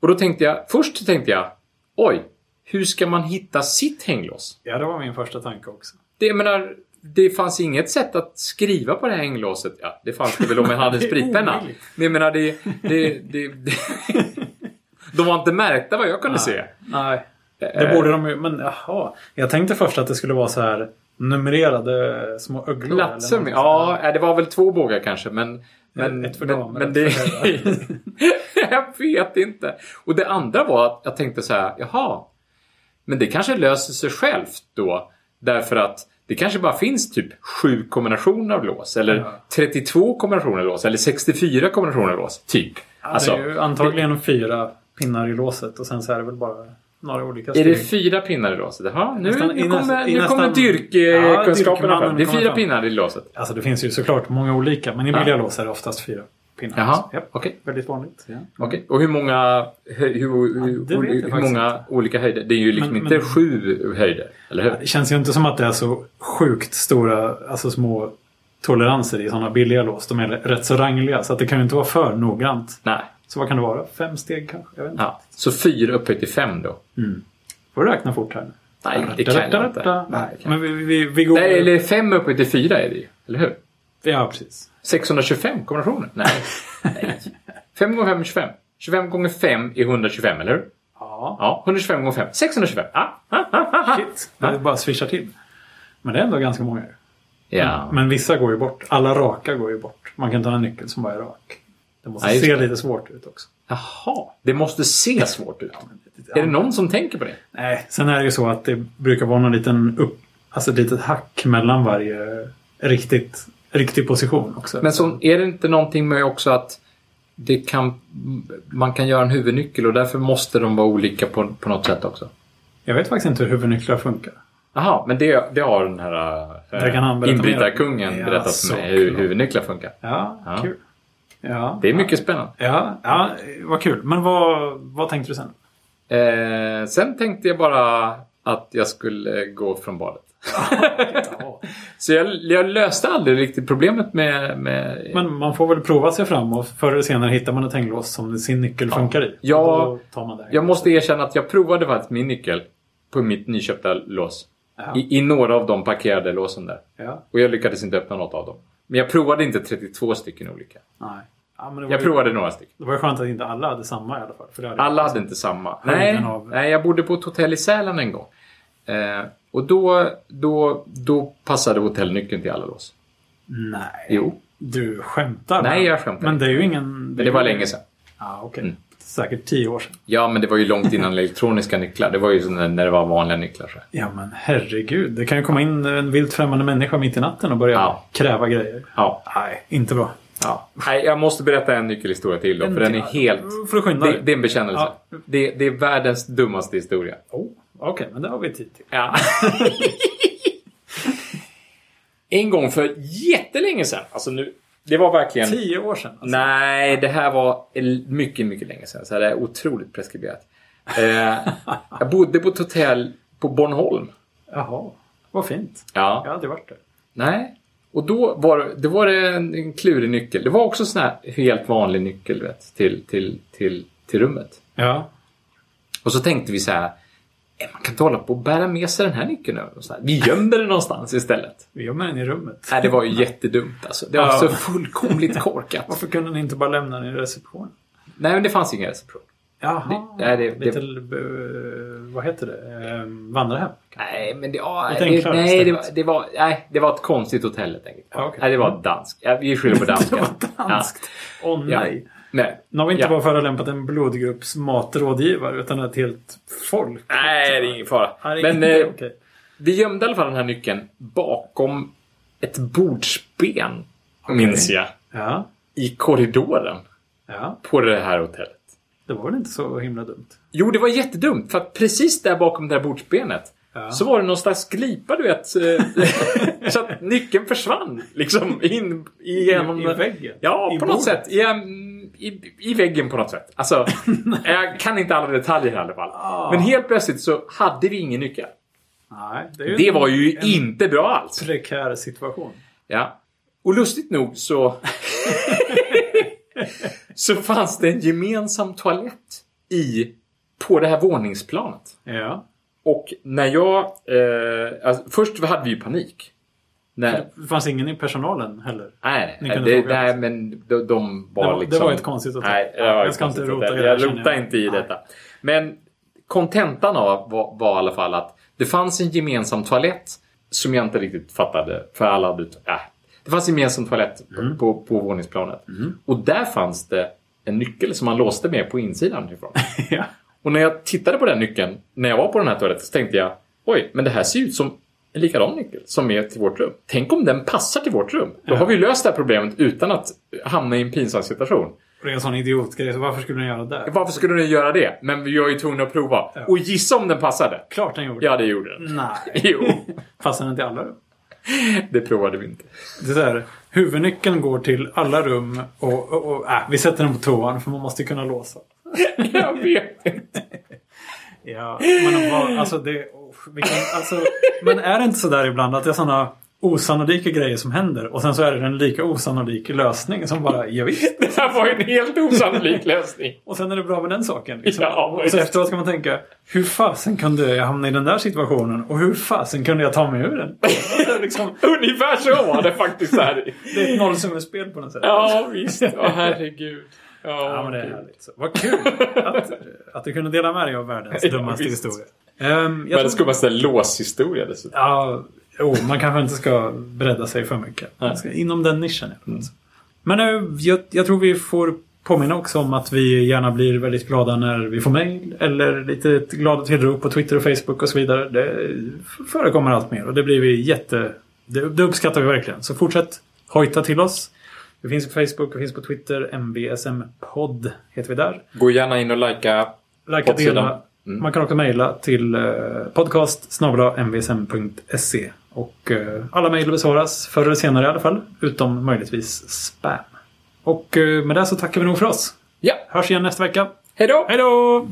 B: Och då tänkte jag, först tänkte jag, oj, hur ska man hitta sitt hänglås?
A: ja, det var min första tanke också.
B: Det, jag menar, det fanns inget sätt att skriva på det här hänglåset. Ja, det fanns det väl om jag hade en
A: Det är
B: spritpenna.
A: omöjligt.
B: Men jag menar, det... det, det, det de var inte märkta vad jag kunde se.
A: Nej. Det borde de ju, men jaha. Jag tänkte först att det skulle vara så här numrerade små öglor.
B: Platser med?
A: någonting
B: Ja, nej, det var väl två bågar kanske, men... men
A: Ett för
B: men,
A: damer,
B: men
A: ett
B: det,
A: för
B: Jag vet inte. Och det andra var att jag tänkte så här, jaha. Men det kanske löser sig självt då. Därför att det kanske bara finns typ sju kombinationer av lås. Eller
A: Ja.
B: 32 kombinationer av lås. Eller 64 kombinationer av lås. Typ.
A: Ja,
B: alltså,
A: det är ju antagligen fyra pinnar i låset och sen så är det väl bara några olika
B: Är det
A: steg.
B: fyra pinnar i låset? Jaha, nu,
A: Nästan-
B: nu
A: i näst-
B: kommer,
A: i
B: nu
A: nästan-
B: kommer
A: Ja,
B: dyrkkunskaperna fram.
A: dyrkmannen
B: Det är
A: kommer
B: fyra
A: fram.
B: pinnar i låset.
A: Alltså det finns ju såklart många olika, men i
B: Ja.
A: billiga lås är det oftast fyra pinnar.
B: Jaha,
A: Ja,
B: okej.
A: väldigt vanligt. Ja.
B: Okej, och hur många, hur, hur, hur,
A: det vet jag
B: hur
A: faktiskt
B: många olika höjder? Det är ju liksom
A: Men-
B: inte
A: men-
B: sju höjder, eller hur?
A: Det känns ju inte som att det är så sjukt stora, alltså små toleranser i sådana billiga lås. De är rätt så rangliga, så att det kan ju inte vara för noggrant.
B: Nej.
A: Så vad kan det vara? Fem steg kanske? Jag vet inte.
B: Ja. Så fyra upphöjt till fem då?
A: Får du räkna fort här nu?
B: Nej,
A: Äh,
B: det kan jag inte. Nej,
A: Nej,
B: det kan
A: Men
B: jag
A: vi, vi, vi går...
B: inte. Nej, eller fem upphöjt till fyra är det ju, eller hur?
A: Ja, precis.
B: 625 kombinationer? Nej. Nej. 5 gånger 5 är 25. 25 gånger 5 är 125, eller hur?
A: Ja.
B: Ja, 125 gånger 5. 625! Ah, ah,
A: Mm.
B: ah, ah, ah.
A: Shit, det bara swishar till. Men det är ändå ganska många.
B: Ja.
A: Men vissa går ju bort. Alla raka går ju bort. Man kan inte ha en nyckel som bara är rak. Det måste
B: Ja, just
A: se
B: det.
A: lite svårt ut också.
B: Jaha, det måste se svårt ut. Är det någon som tänker på det?
A: Nej, sen är det ju så att det brukar vara någon liten upp... Alltså ett litet hack mellan varje riktigt, riktig position också.
B: Men så är det inte någonting med också att det kan, man kan göra en huvudnyckel och därför måste de vara olika på, på något sätt också?
A: Jag vet faktiskt inte hur huvudnycklar funkar.
B: Jaha, men det, det har den här
A: Det kan han berätta
B: eh,
A: mer om.
B: inbrytarkungen
A: Ja,
B: berättat för mig hur
A: såklart.
B: huvudnycklar funkar.
A: Ja,
B: Ja.
A: kul. Ja,
B: Det är mycket spännande.
A: ja, ja, vad kul. Men vad, vad tänkte du sen?
B: Eh, sen tänkte jag bara att jag skulle gå från badet. Så jag, jag löste aldrig riktigt problemet med... med
A: Men man får väl prova sig fram och förr eller senare hittar man ett hänglås som sin nyckel funkar i.
B: Ja.
A: Och Då tar man det.
B: Jag måste erkänna att jag provade faktiskt min nyckel på mitt nyköpta lås.
A: Ja.
B: I, I några av de parkerade låsen där.
A: Ja.
B: Och jag lyckades inte öppna något av dem. Men jag provade inte 32 stycken olika.
A: Nej. Ja, men det, var
B: Jag
A: ju,
B: provade några stycken.
A: det var ju skönt att inte alla hade samma i alla fall. För det hade
B: Alla hade inte samma.
A: Höjden
B: Nej,
A: av-
B: nej jag bodde på ett hotell i Sälen en gång. Eh, och då, då, då passade hotellnyckeln till alla lås.
A: Nej.
B: Jo,
A: Du skämtar.
B: Nej,
A: men-
B: jag skämtar
A: Men det är ju ingen...
B: men det var länge sedan.
A: Ja, okej.
B: Mm.
A: Säkert tio år sedan.
B: Ja, men det var ju långt innan elektroniska nycklar. Det var ju så när när det var vanliga nycklar. Så. här.
A: Ja, men herregud. Det kan ju komma in en vilt främmande människa mitt i natten och börja
B: Ja.
A: kräva grejer.
B: Ja,
A: Nej, inte bra.
B: ja. Nej, jag måste berätta en nyckelhistoria till då, för den är helt...
A: Får du skynda
B: Det,
A: dig?
B: det är en bekännelse.
A: Ja.
B: Det, det är världens dummaste historia.
A: Oh, okej, men det har vi tid till.
B: Ja. en gång för jättelänge sedan. Alltså nu, det var verkligen...
A: Tio år sedan. alltså.
B: Nej, det här var el- mycket, mycket länge sedan. Så det är otroligt preskriberat. Eh, jag bodde på ett hotell på Bornholm.
A: Jaha, vad fint. Jag
B: Ja.
A: har aldrig varit där.
B: Nej. Och då var det, då var det en, en klurig nyckel. Det var också sån här helt vanlig nyckel du vet, till, till, till, till rummet.
A: Ja.
B: Och så tänkte vi så här. "Eh, Man kan inte hålla på och bära med sig den här nyckeln över. Och så här, Vi gömmer den någonstans istället.
A: Vi gömmer den i rummet.
B: Nej, det var ju jättedumt alltså. Det var
A: Ja.
B: så fullkomligt korkat.
A: Varför kunde ni inte bara lämna den i receptionen?
B: Nej, men det fanns ingen reception.
A: Jaha,
B: Det- nej, det-
A: lite... eh, vad heter det? Eh, vandrarhem?
B: Nej, men det, ja,
A: Lite
B: det,
A: enklare
B: nej, det,
A: istället.
B: var- det var, nej, det var ett konstigt hotell helt enkelt.
A: Ja, okej.
B: Nej, det var danskt. Ja, vi skyller på dansken.
A: var danskt. Åh
B: Ja.
A: nej.
B: Ja. Nej.
A: Nu har vi inte
B: Ja.
A: bara förelämpat en blodgrupps matrådgivare utan ett helt folk.
B: Nej, det är ingen fara.
A: Ja, det är
B: Men
A: inte
B: eh,
A: okej.
B: vi gömde i alla fall den här nyckeln bakom ett bordsben, minns jag,
A: Ja,
B: i korridoren
A: ja,
B: på det här hotellet.
A: det var väl inte så himla dumt.
B: Jo, det var jättedumt, för att precis där bakom det här bordsbenet
A: Ja.
B: Så var det någon slags glipa, du vet. eh, så att nyckeln försvann liksom in igenom...
A: I väggen?
B: Ja,
A: I
B: på något
A: bordet?
B: sätt. I, en- i, I väggen på något sätt. Alltså, jag kan inte alla detaljer i alla fall.
A: Ah.
B: Men helt plötsligt så hade vi ingen nyckel.
A: Nej, det, är ju
B: Det
A: en
B: var ju
A: en
B: inte bra alls.
A: prekär situation.
B: Ja. Och lustigt nog så... så fanns det en gemensam toalett i, på det här våningsplanet.
A: Ja.
B: Och när jag... Eh, alltså, först hade vi ju panik. När,
A: Det fanns ingen i personalen heller.
B: nej,
A: Ni
B: nej,
A: kunde
B: det,
A: fråga.
B: nej, men de, de var
A: Det var- det
B: liksom...
A: var ett konstigt hotell.
B: Nej, det var
A: Jag
B: ett
A: ska inte
B: konstigt
A: rota i
B: hotell.
A: det här,
B: Jag
A: känner
B: rotar
A: jag.
B: inte i
A: Nej.
B: detta. Men kontentan av var, var i alla fall att det fanns en gemensam toalett som jag inte riktigt fattade. För alla hade... Äh. Det fanns en gemensam toalett
A: Mm.
B: på, på våningsplanet. Och där fanns det en nyckel som man låste med på insidan. Ifrån.
A: ja.
B: Och när jag tittade på den nyckeln, när jag var på den här toaletten, så tänkte jag Oj, men det här ser ut som en likadan nyckel som är till vårt rum. Tänk om den passar till vårt rum? Då har vi ju löst det här problemet utan att hamna i en pinsam situation.
A: Och det är en sån idiotgrej, så varför skulle den göra det?
B: Varför skulle den göra det? Men vi var ju tvungna att prova.
A: Ja. Mm.
B: Och gissa om den passade?
A: Klart den gjorde.
B: Ja, det gjorde den.
A: Nej.
B: Jo,
A: Passar den till alla rum?
B: det provade vi inte.
A: Det är så här, huvudnyckeln går till alla rum och, och, och äh, vi sätter den på toan för man måste ju kunna låsa.
B: Jag vet inte.
A: Ja, men vad, alltså det... oh, Vilken, alltså, men är det inte så där ibland att det är såna osannolika grejer som händer och sen så är det en lika osannolik lösning som bara, ja, visst.
B: Det här var ju en helt osannolik lösning.
A: Och sen är det bra med den saken. Liksom.
B: Ja,
A: och
B: visst.
A: så efteråt ska man tänka, hur fasen kunde jag hamna i den där situationen och hur fasen kunde jag ta mig ur den? Alltså, liksom,
B: Ungefär så var det faktiskt här.
A: det är ett nollsummespel på något sätt.
B: Ja, visst. Åh, herregud.
A: Ja, men det är härligt. Så, vad kul att, att du kunde dela med dig av världens
B: Ja,
A: dummaste
B: visst.
A: historia. Ehm, jag tror,
B: Världens skummaste låshistoria dessutom.
A: ja, oh, man kanske inte ska bredda sig för mycket. Man ska, inom den nischen. i alla fall. Men eh, jag, jag tror vi får påminna också om att vi gärna blir väldigt glada när vi får mejl. Eller lite glada tillrop på Twitter och Facebook och så vidare. Det förekommer allt mer och det blir vi jätte... Det, det uppskattar vi verkligen. Så fortsätt hojta till oss. Vi finns på Facebook, vi finns på Twitter. MBSM-podd heter vi där.
B: Gå gärna in och likea.
A: Like och dela.
B: Poddsidan. Mm.
A: Man kan också mejla till eh, podcast mvsm.se. e. Och eh, alla mejl besvaras förr eller senare i alla fall. Utom möjligtvis spam. Och eh, med det så tackar vi nog för oss.
B: Ja,
A: Hörs igen nästa vecka.
B: hej då!
A: Hej då!